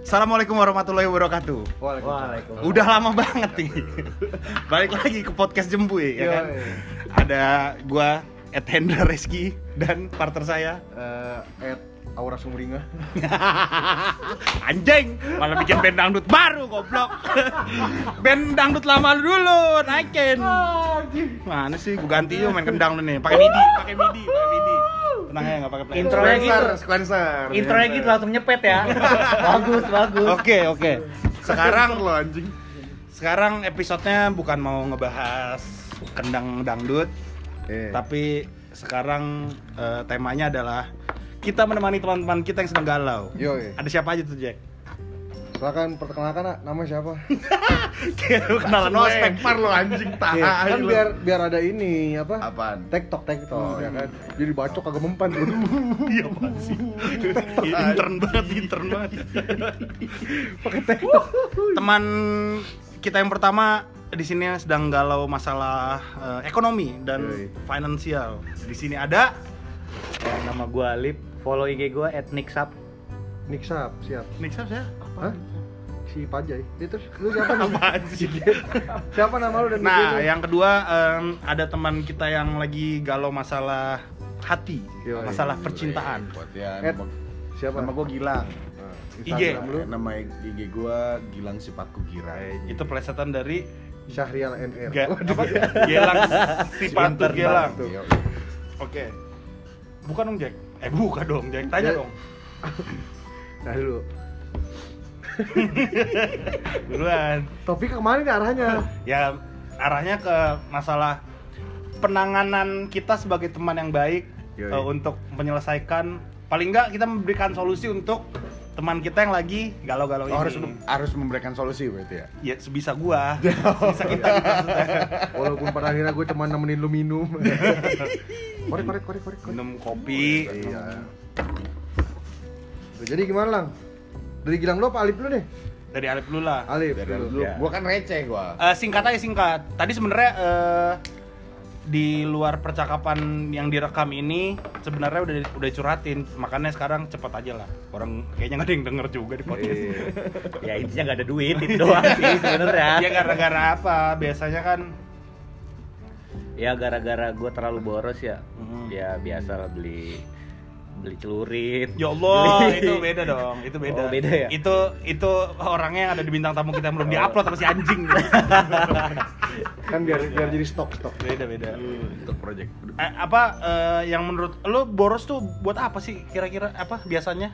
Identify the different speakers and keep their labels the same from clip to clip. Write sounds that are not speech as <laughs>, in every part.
Speaker 1: Assalamualaikum warahmatullahi wabarakatuh.
Speaker 2: Waalaikumsalam.
Speaker 1: Udah lama banget nih. Balik lagi ke podcast Jembui ya kan.
Speaker 2: Yoi.
Speaker 1: Ada gua Ed Hendra Reski dan partner saya
Speaker 2: Eh, at Aura Sumringah.
Speaker 1: anjing malah bikin band dangdut baru goblok band dangdut lama lu dulu naikin mana sih gua ganti yuk main kendang lu nih pakai midi pakai midi pakai midi tenang ya nggak pakai player
Speaker 3: Intronya gitu.
Speaker 2: Sequencer.
Speaker 3: Intronya gitu langsung nyepet
Speaker 2: <laughs>
Speaker 3: ya. bagus, bagus.
Speaker 1: oke oke
Speaker 2: Sekarang lo anjing.
Speaker 1: sekarang episodenya bukan mau ngebahas kendang dangdut
Speaker 2: Eh.
Speaker 1: tapi sekarang eh, temanya adalah kita menemani teman-teman kita yang sedang galau
Speaker 4: eh.
Speaker 2: Yoi.
Speaker 1: ada siapa aja tuh Jack
Speaker 2: Silakan perkenalkan nak, nama siapa?
Speaker 1: Kayak lu <laughs> kenalan
Speaker 2: Semua
Speaker 1: ospek
Speaker 2: lempar lo anjing tahan.
Speaker 4: kan biar biar ada ini apa
Speaker 2: apaan?
Speaker 4: tektok tektok ya kan jadi bacok agak mempan <laughs> tuh
Speaker 1: Iya pasti. intern banget, intern <laughs> banget.
Speaker 4: pakai tektok
Speaker 1: Teman kita yang pertama di sini sedang galau masalah eh, ekonomi dan
Speaker 2: Yoi.
Speaker 1: finansial. Di sini ada
Speaker 3: Ya, nama gua Alip, follow IG gua @nixap.
Speaker 4: Nick Sharp siap
Speaker 1: Nixap ya?
Speaker 4: Hah? si Pajai itu lu siapa nama
Speaker 1: Apaan sih? <laughs>
Speaker 4: siapa nama lu dan
Speaker 1: Nah,
Speaker 4: IG lu?
Speaker 1: yang kedua em, ada teman kita yang lagi galau masalah hati,
Speaker 4: Yoi.
Speaker 1: masalah percintaan.
Speaker 2: Buat ya,
Speaker 4: Ed.
Speaker 2: nama-
Speaker 4: siapa Ah,
Speaker 1: Nama gue Gilang.
Speaker 2: eh,
Speaker 4: Iya.
Speaker 1: IG.
Speaker 2: Instagram lu. Nama IG gua Gilang Gitu. Sipaku Girai.
Speaker 1: Itu plesetan dari
Speaker 4: Syahrial NR
Speaker 1: Ga-
Speaker 4: Ya, Waduh.
Speaker 1: apa? Gelang si Pantu
Speaker 3: Pantu.
Speaker 1: Gelang.
Speaker 4: Tuh.
Speaker 2: Yoi.
Speaker 1: Oke. Bukan dong, Jack. Eh, bukan dong, Jack. Tanya
Speaker 4: Ya.
Speaker 1: dong.
Speaker 4: nah dulu
Speaker 1: Duluan.
Speaker 4: topik kemarin nih arahnya
Speaker 1: Ya arahnya ke masalah penanganan kita sebagai teman yang baik
Speaker 2: Yoi.
Speaker 1: eh, untuk menyelesaikan paling nggak kita memberikan solusi untuk teman kita yang lagi galau-galau
Speaker 2: Oh,
Speaker 1: ini.
Speaker 2: harus harus memberikan solusi berarti ya.
Speaker 1: Ya sebisa gua. sebisa kita kita sudah.
Speaker 4: walaupun pada akhirnya gue cuma nemenin lu minum korek korek korek korek korek.
Speaker 1: minum kopi.
Speaker 4: iya Tuh, jadi gimana lang dari Gilang lu apa Alip lu deh
Speaker 1: Dari Alif dulu lah.
Speaker 4: Alip
Speaker 2: Dari
Speaker 4: dulu
Speaker 2: dulu. Gua kan receh gua.
Speaker 1: Eh, singkat aja singkat. Tadi sebenarnya eh, di luar percakapan yang direkam ini sebenarnya udah udah curhatin makanya sekarang cepet aja lah orang kayaknya nggak ada yang denger juga di podcast
Speaker 3: Ya intinya nggak ada duit itu doang sih
Speaker 4: Iya.
Speaker 3: sebenarnya.
Speaker 1: <laughs> ya gara-gara apa biasanya kan
Speaker 3: Ya gara-gara gua terlalu boros ya.
Speaker 1: Mhm.
Speaker 4: Hmm.
Speaker 3: Ya biasa lah beli beli celurit.
Speaker 1: ya Allah
Speaker 3: <laughs> Beli-
Speaker 1: itu beda dong itu beda
Speaker 3: Oh, beda ya?
Speaker 1: itu itu orangnya yang ada di bintang tamu kita yang belum diupload sama si
Speaker 3: <laughs>
Speaker 1: anjing
Speaker 4: kan biar biar jadi stok stok
Speaker 1: beda beda
Speaker 2: Untuk project.
Speaker 1: Eh, apa eh, yang menurut lo boros tuh buat apa sih kira-kira apa biasanya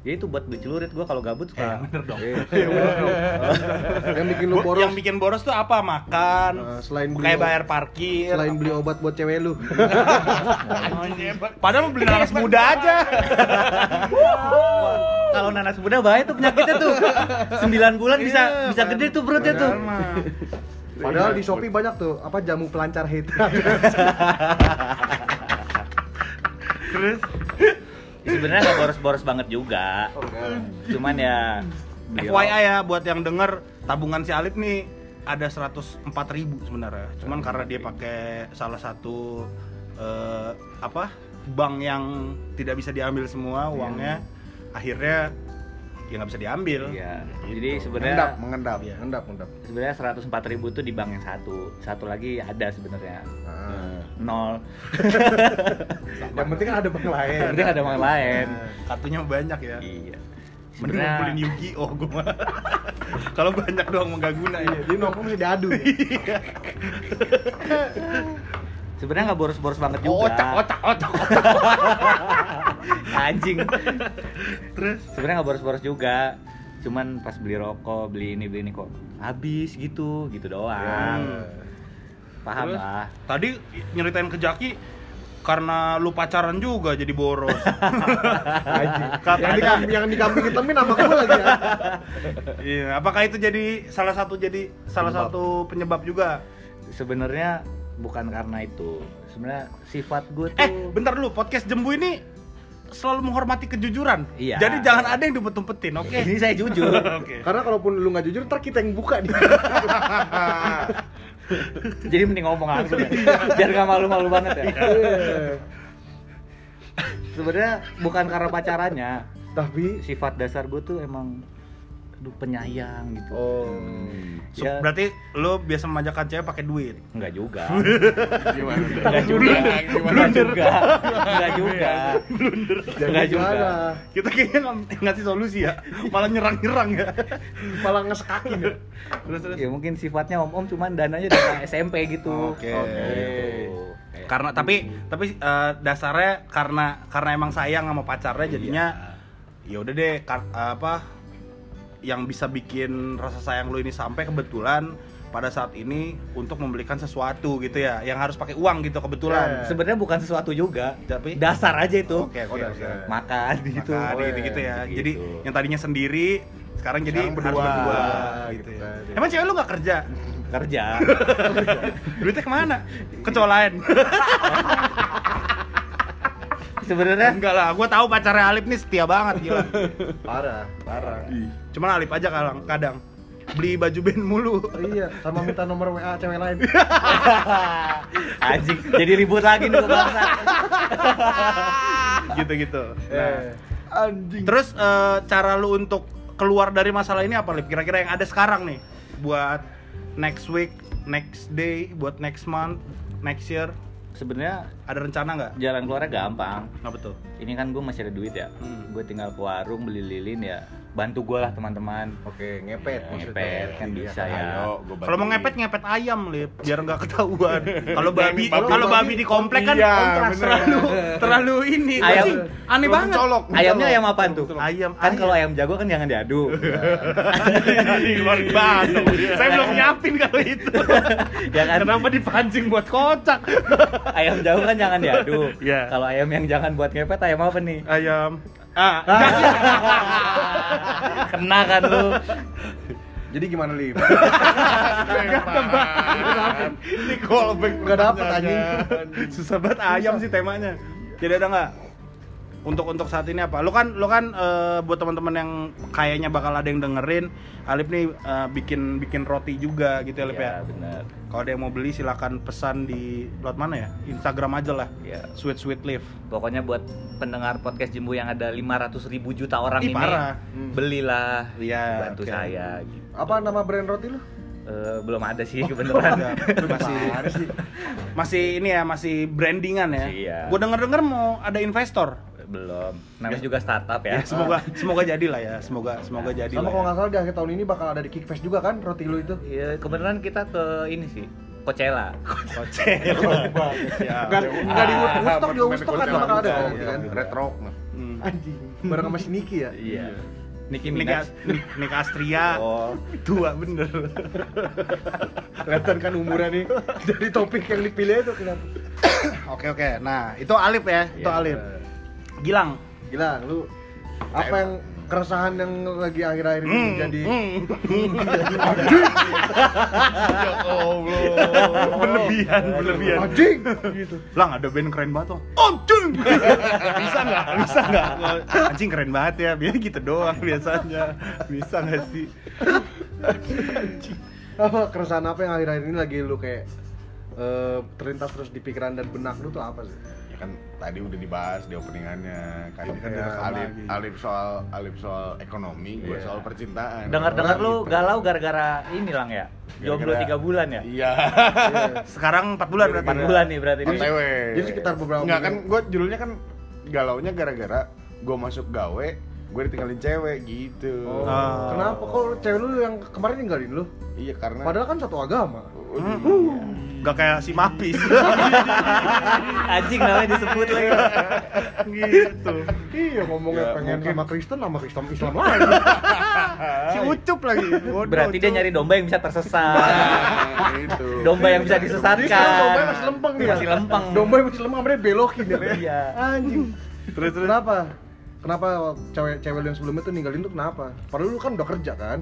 Speaker 3: Ya itu buat beli celurit gua kalau
Speaker 1: Eh,
Speaker 3: gabut suka. Ya,
Speaker 1: bener dong
Speaker 3: Iya,
Speaker 4: <laughs> yang bikin lu
Speaker 1: Bo-
Speaker 4: boros
Speaker 1: yang bikin boros tuh apa makan
Speaker 4: Eh, selain beli
Speaker 1: kayak
Speaker 4: obat.
Speaker 1: bayar parkir
Speaker 4: selain beli obat buat cewek lu
Speaker 1: padahal mau beli nanas muda aja
Speaker 3: Kalau nanas muda bahaya tuh penyakitnya tuh. 9 bulan bisa
Speaker 1: Iya,
Speaker 3: bisa gede tuh perutnya tuh.
Speaker 1: Padahal mah.
Speaker 4: padahal di shopee banyak tuh apa jamu pelancar head
Speaker 1: terus
Speaker 3: Ya, Sebenarnya nggak boros-boros banget juga. Cuman ya beli-
Speaker 1: FYI ya buat yang denger tabungan si Alip nih ada 104.000 sebenarnya. Cuman
Speaker 4: Hmm.
Speaker 1: karena dia pakai salah satu eh, apa bank yang tidak bisa diambil semua
Speaker 4: Iya.
Speaker 1: uangnya, akhirnya ya nggak bisa diambil.
Speaker 3: Iya. Jadi
Speaker 1: Gitu.
Speaker 3: sebenarnya
Speaker 2: Mengendap, mengendap,
Speaker 1: Iya.
Speaker 2: mengendap, mengendap.
Speaker 3: sebenarnya 104 ribu tuh di bank yang satu satu lagi ada sebenarnya
Speaker 2: Nah.
Speaker 3: nol
Speaker 4: yang penting kan ada bank lain
Speaker 3: nanti ada bank lain
Speaker 1: Kartunya banyak ya.
Speaker 3: iya
Speaker 1: Mending ngumpulin
Speaker 3: sebenarnya
Speaker 1: Yu-Gi-Oh gue mah. <laughs> Kalau banyak doang nggak guna ya.
Speaker 4: jadi nongkrong bisa diadu
Speaker 3: sebenarnya nggak boros-boros banget juga
Speaker 1: Otak, otak, otak.
Speaker 3: <laughs> anjing
Speaker 1: <laughs> Terus
Speaker 3: sebenarnya nggak boros-boros juga cuman pas beli rokok beli ini beli ini kok habis gitu gitu doang
Speaker 1: hmm. Iya. Terus?
Speaker 3: paham lah
Speaker 1: Tadi nyeritain ke Jaki karena lu pacaran juga jadi <laughs> boros.
Speaker 4: yang di kambing yang di kambing hitamin nama gue lagi ya
Speaker 1: Iya, apakah itu jadi salah satu jadi salah
Speaker 4: Penyebab.
Speaker 1: satu penyebab juga?
Speaker 3: sebenarnya bukan karena itu sebenarnya sifat gue tuh
Speaker 1: Eh, bentar dulu, podcast Jembu ini selalu menghormati kejujuran.
Speaker 3: Iya.
Speaker 1: Jadi jangan ada yang diumpet-umpetin, oke?
Speaker 3: ini saya jujur
Speaker 1: <laughs> Oke.
Speaker 4: karena kalaupun lu nggak jujur ntar kita yang buka nih
Speaker 3: jadi mending ngomong langsung ya biar nggak malu-malu banget ya sebenarnya bukan karena pacarannya
Speaker 4: tapi
Speaker 3: sifat dasar gue tuh emang aduh penyayang gitu
Speaker 4: Oh.
Speaker 2: Hmm.
Speaker 1: So,
Speaker 3: Ya.
Speaker 1: Berarti lo biasa memanjakan cewek pakai duit.
Speaker 3: Enggak juga.
Speaker 2: Gimana?
Speaker 3: Enggak juga. Enggak <laughs> juga. Enggak juga. Enggak juga.
Speaker 4: gimana?
Speaker 1: Kita kayaknya ng- ngasih solusi ya, malah nyerang-nyerang ya.
Speaker 4: Malah ngesekakin ya.
Speaker 1: Terus terus.
Speaker 3: Ya mungkin sifatnya om-om cuman dananya <laughs> dana SMP gitu.
Speaker 1: Oke.
Speaker 3: Gitu. Kayak-
Speaker 1: Karena tapi tapi eh, dasarnya karena karena emang sayang sama pacarnya jadinya ya udah deh kar- apa yang bisa bikin rasa sayang lo ini sampai kebetulan pada saat ini untuk membelikan sesuatu gitu ya yang harus pakai uang gitu kebetulan.
Speaker 4: Iya.
Speaker 3: sebenarnya bukan sesuatu juga,
Speaker 1: Tapi
Speaker 3: dasar aja itu.
Speaker 1: Oke, oke,
Speaker 4: Oh,
Speaker 1: oke.
Speaker 4: dasar.
Speaker 3: Makan gitu.
Speaker 1: Makan,
Speaker 4: Oh,
Speaker 1: gitu, gitu ya.
Speaker 3: gitu.
Speaker 1: Jadi yang tadinya sendiri sekarang jadi
Speaker 4: Sekarang
Speaker 1: harus
Speaker 4: berdua,
Speaker 1: berdua gitu
Speaker 4: gitu
Speaker 1: ya.
Speaker 4: kan.
Speaker 1: Emang cewek lu gak kerja?
Speaker 3: Kerja.
Speaker 1: Duitnya kemana? Kecolain.
Speaker 2: Eh?
Speaker 3: Sebenarnya
Speaker 1: Enggak lah, gue tahu pacarnya Alip nih setia banget gila.
Speaker 4: Parah, parah.
Speaker 1: Cuman Alip aja kadang, kadang beli baju band mulu. <laughs>
Speaker 4: Oh, iya, sama minta nomor WA cewek lain.
Speaker 3: anjing jadi ribut lagi nih gua bangsa.
Speaker 1: Gitu-gitu. Nah,
Speaker 4: Eh,
Speaker 2: Anjing.
Speaker 1: terus eh, cara lu untuk keluar dari masalah ini apa Lip? Kira-kira yang ada sekarang nih buat next week, next day, buat next month, next year
Speaker 3: Sebenarnya
Speaker 1: ada rencana nggak?
Speaker 3: jalan keluarnya gampang.
Speaker 1: Nggak betul.
Speaker 3: Ini kan gue masih ada duit ya.
Speaker 1: Hmm.
Speaker 3: Gue tinggal ke warung beli lilin ya. Bantu gue lah teman-teman.
Speaker 4: Oke, ngepet.
Speaker 3: Ya,
Speaker 4: maksudnya.
Speaker 3: ngepet kan
Speaker 4: Iya,
Speaker 3: bisa ya.
Speaker 2: Ayo, gua
Speaker 1: Kalau mau
Speaker 2: bantuin.
Speaker 1: ngepet ngepet ayam lip, biar nggak
Speaker 2: <laughs>
Speaker 1: ketahuan. Kalau babi,
Speaker 2: babi-
Speaker 1: kalau babi di komplek kan
Speaker 2: Iya,
Speaker 1: kontras
Speaker 2: bener.
Speaker 1: terlalu terlalu ini.
Speaker 3: Ayam-
Speaker 1: Ayam, aneh
Speaker 2: Belum
Speaker 1: banget.
Speaker 2: colok, belum
Speaker 3: Ayamnya
Speaker 2: colok,
Speaker 3: ayam apaan
Speaker 2: belum
Speaker 3: tuh?
Speaker 2: colok.
Speaker 1: Ayam
Speaker 3: Kan kalau ayam jago kan jangan diadu. <laughs>
Speaker 1: <laughs> di luar
Speaker 3: Iya.
Speaker 1: batok. Saya belum nyiapin kalau itu.
Speaker 3: <laughs> ya kan?
Speaker 1: Kenapa dipancing buat kocak?
Speaker 3: Ayam jago kan jangan diadu.
Speaker 1: Iya.
Speaker 3: Kalau ayam yang jangan buat ngepet ayam apa nih?
Speaker 1: Ayam. Ah,
Speaker 3: Kena kan lu.
Speaker 4: Jadi gimana, Lim?
Speaker 1: ini callback
Speaker 4: Nggak dapet, anjing.
Speaker 1: Susah banget ayam sih temanya. Jadi ada nggak? Untuk untuk saat ini apa? Lo kan lo kan eh, buat teman-teman yang kayaknya bakal ada yang dengerin, Alip nih eh, bikin bikin roti juga gitu ya, Alip
Speaker 3: Iya,
Speaker 1: ya.
Speaker 3: benar.
Speaker 1: Kalau ada yang mau beli silakan pesan di lewat mana ya? Instagram aja lah.
Speaker 3: Iya.
Speaker 1: Sweet Sweet Live.
Speaker 3: Pokoknya buat pendengar podcast Jimbo yang ada 500 ribu juta orang
Speaker 1: Ih,
Speaker 3: ini
Speaker 1: parah.
Speaker 3: Belilah,
Speaker 1: Iya, oke.
Speaker 3: bantu saya gitu.
Speaker 4: Apa nama brand roti lu?
Speaker 3: Eh, belum
Speaker 1: Oh,
Speaker 3: ada sih kebenaran.
Speaker 1: masih
Speaker 4: Parah sih.
Speaker 1: masih ini ya masih brandingan ya.
Speaker 3: Iya.
Speaker 1: Gue denger denger mau ada investor.
Speaker 3: belum. Namanya juga startup
Speaker 1: Ya,
Speaker 3: ya.
Speaker 1: semoga semoga jadi lah ya. Semoga semoga jadi.
Speaker 4: Sama
Speaker 1: lah ya.
Speaker 4: kalau nggak salah di akhir tahun ini bakal ada di Kickfest juga kan roti lu itu.
Speaker 3: Iya, kebenaran kita ke ini sih, Coachella.
Speaker 1: <laughs> Ya.
Speaker 4: Enggak enggak di
Speaker 2: Ah,
Speaker 4: Woodstock di
Speaker 2: apartemen
Speaker 4: Woodstock kan
Speaker 2: Kotel
Speaker 4: bakal ada
Speaker 2: Agung.
Speaker 4: kan, nanti kan.
Speaker 2: Iya, Red Rock. nah.
Speaker 1: Hmm.
Speaker 4: Anjing. Bareng sama si Niki ya.
Speaker 3: Iya. Nicki
Speaker 1: Nick,
Speaker 3: Minaj.
Speaker 1: As- Nick, Nick Astria
Speaker 3: Oh,
Speaker 1: tua bener.
Speaker 4: Kelihatan kan umurnya nih. <laughs> Jadi topik yang dipilih itu kenapa?
Speaker 1: Oke oke. Nah itu Alip ya. Itu
Speaker 3: Iya.
Speaker 1: Alip. Gilang.
Speaker 4: Gila lu apa yang keresahan yang lagi akhir-akhir ini
Speaker 1: Hmm,
Speaker 4: jadi
Speaker 1: hmm. <laughs>
Speaker 2: Ya Allah.
Speaker 1: berlebihan berlebihan.
Speaker 4: anjing gitu.
Speaker 1: Lang ada band keren banget dong. Anjing. <laughs> Bisa nggak? Bisa nggak? Anjing keren banget ya. Biar gitu doang biasanya. Bisa nggak sih?
Speaker 4: Apa keresahan apa yang akhir-akhir ini lagi lu kayak eh, terlintas terus di pikiran dan benak lu tuh apa sih?
Speaker 2: Ya kan tadi udah dibahas di openingannya. Kan
Speaker 1: Ini kan
Speaker 2: ya,
Speaker 1: direkam
Speaker 2: Alip,
Speaker 1: lagi.
Speaker 2: Alip soal Alip soal ekonomi, gue
Speaker 4: Iya.
Speaker 2: soal percintaan.
Speaker 3: dengar-dengar lu
Speaker 1: Iya.
Speaker 2: Gitu.
Speaker 3: galau gara-gara ini lang ya. Jomblo
Speaker 2: Gara-gara-
Speaker 3: 3 bulan ya.
Speaker 2: Iya.
Speaker 4: Iya.
Speaker 1: Sekarang 4 bulan berarti. ya.
Speaker 3: 4 bulan nih berarti ini.
Speaker 2: OTW.
Speaker 4: jadi sekitar beberapa
Speaker 2: Enggak kan
Speaker 4: menit.
Speaker 2: gue judulnya kan galaunya gara-gara gue masuk gawe, gue ditinggalin cewek gitu.
Speaker 1: Oh.
Speaker 4: Oh.
Speaker 3: Ah.
Speaker 4: Kenapa kok cewek lu yang kemarin ninggalin lu?
Speaker 2: Iya karena
Speaker 4: Padahal kan satu agama.
Speaker 3: <laughs>
Speaker 2: Waduh, iya.
Speaker 1: Gak Hmm. kayak si Mapis <laughs>
Speaker 3: Anjing namanya disebut lagi.
Speaker 1: gitu.
Speaker 4: Iya ngomongnya
Speaker 2: Ya,
Speaker 4: pengen
Speaker 2: mungkin.
Speaker 4: sama Kristen sama Kristen <laughs> Islam lagi.
Speaker 1: Si Ucup lagi. Bodoh,
Speaker 3: Berarti dia
Speaker 1: Ucup.
Speaker 3: nyari domba yang bisa tersesat.
Speaker 2: <laughs> Nah, itu.
Speaker 3: Domba yang
Speaker 2: Iya,
Speaker 3: bisa
Speaker 4: Jadi sekarang
Speaker 3: disesatkan.
Speaker 4: dombanya masih lempeng nih. ya?
Speaker 3: Masih lempeng.
Speaker 4: Dombanya masih lempeng, akhirnya belokin <laughs> ya.
Speaker 3: Iya.
Speaker 4: Anjing.
Speaker 1: Terus terus.
Speaker 4: Kenapa? Kenapa cewek-cewek lu yang sebelumnya tuh ninggalin tuh kenapa? Padahal lu kan udah kerja kan?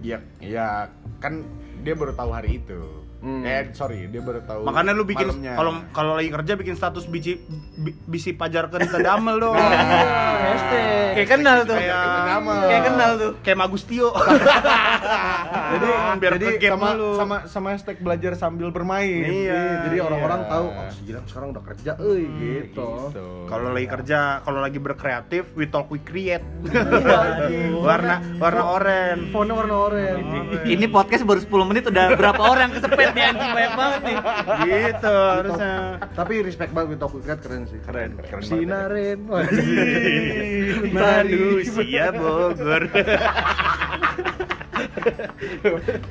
Speaker 2: Iya, iya kan dia baru tahu hari itu.
Speaker 4: Hmm.
Speaker 2: Eh sorry dia baru tahu.
Speaker 1: Makanya lu bikin
Speaker 2: malamnya.
Speaker 1: kalau kalau lagi kerja bikin status biji bi- bisi pajarkan tadamel
Speaker 2: Nah.
Speaker 1: dong.
Speaker 3: Hashtag. Kayak kenal tuh.
Speaker 1: Oh. Kayak-
Speaker 3: Kayak kenal tuh.
Speaker 1: Kayak Magustio.
Speaker 2: jadi
Speaker 1: biar
Speaker 2: Ah, jadi
Speaker 1: kegap
Speaker 2: sama,
Speaker 1: dulu.
Speaker 2: sama sama hashtag belajar sambil bermain.
Speaker 1: Iya. Hmm,
Speaker 4: Jadi orang-orang
Speaker 2: Iya.
Speaker 4: tahu, oh si Gilang sekarang udah kerja, euy gitu.
Speaker 2: Gitu.
Speaker 1: Kalau lagi kerja, kalau lagi berkreatif, we talk we create.
Speaker 4: Iya,
Speaker 1: warna warna Iya, oren.
Speaker 4: Fontnya warna oranye.
Speaker 3: Ini podcast baru 10 menit udah berapa orang kesepet nih anjing banyak banget nih.
Speaker 1: Gitu harusnya.
Speaker 4: Tapi respect banget Wito Kukret keren sih.
Speaker 2: Keren, keren banget. ya.
Speaker 4: Sinaren.
Speaker 2: <laughs>
Speaker 4: Wah,
Speaker 2: Iya.
Speaker 1: Manusia Bogor.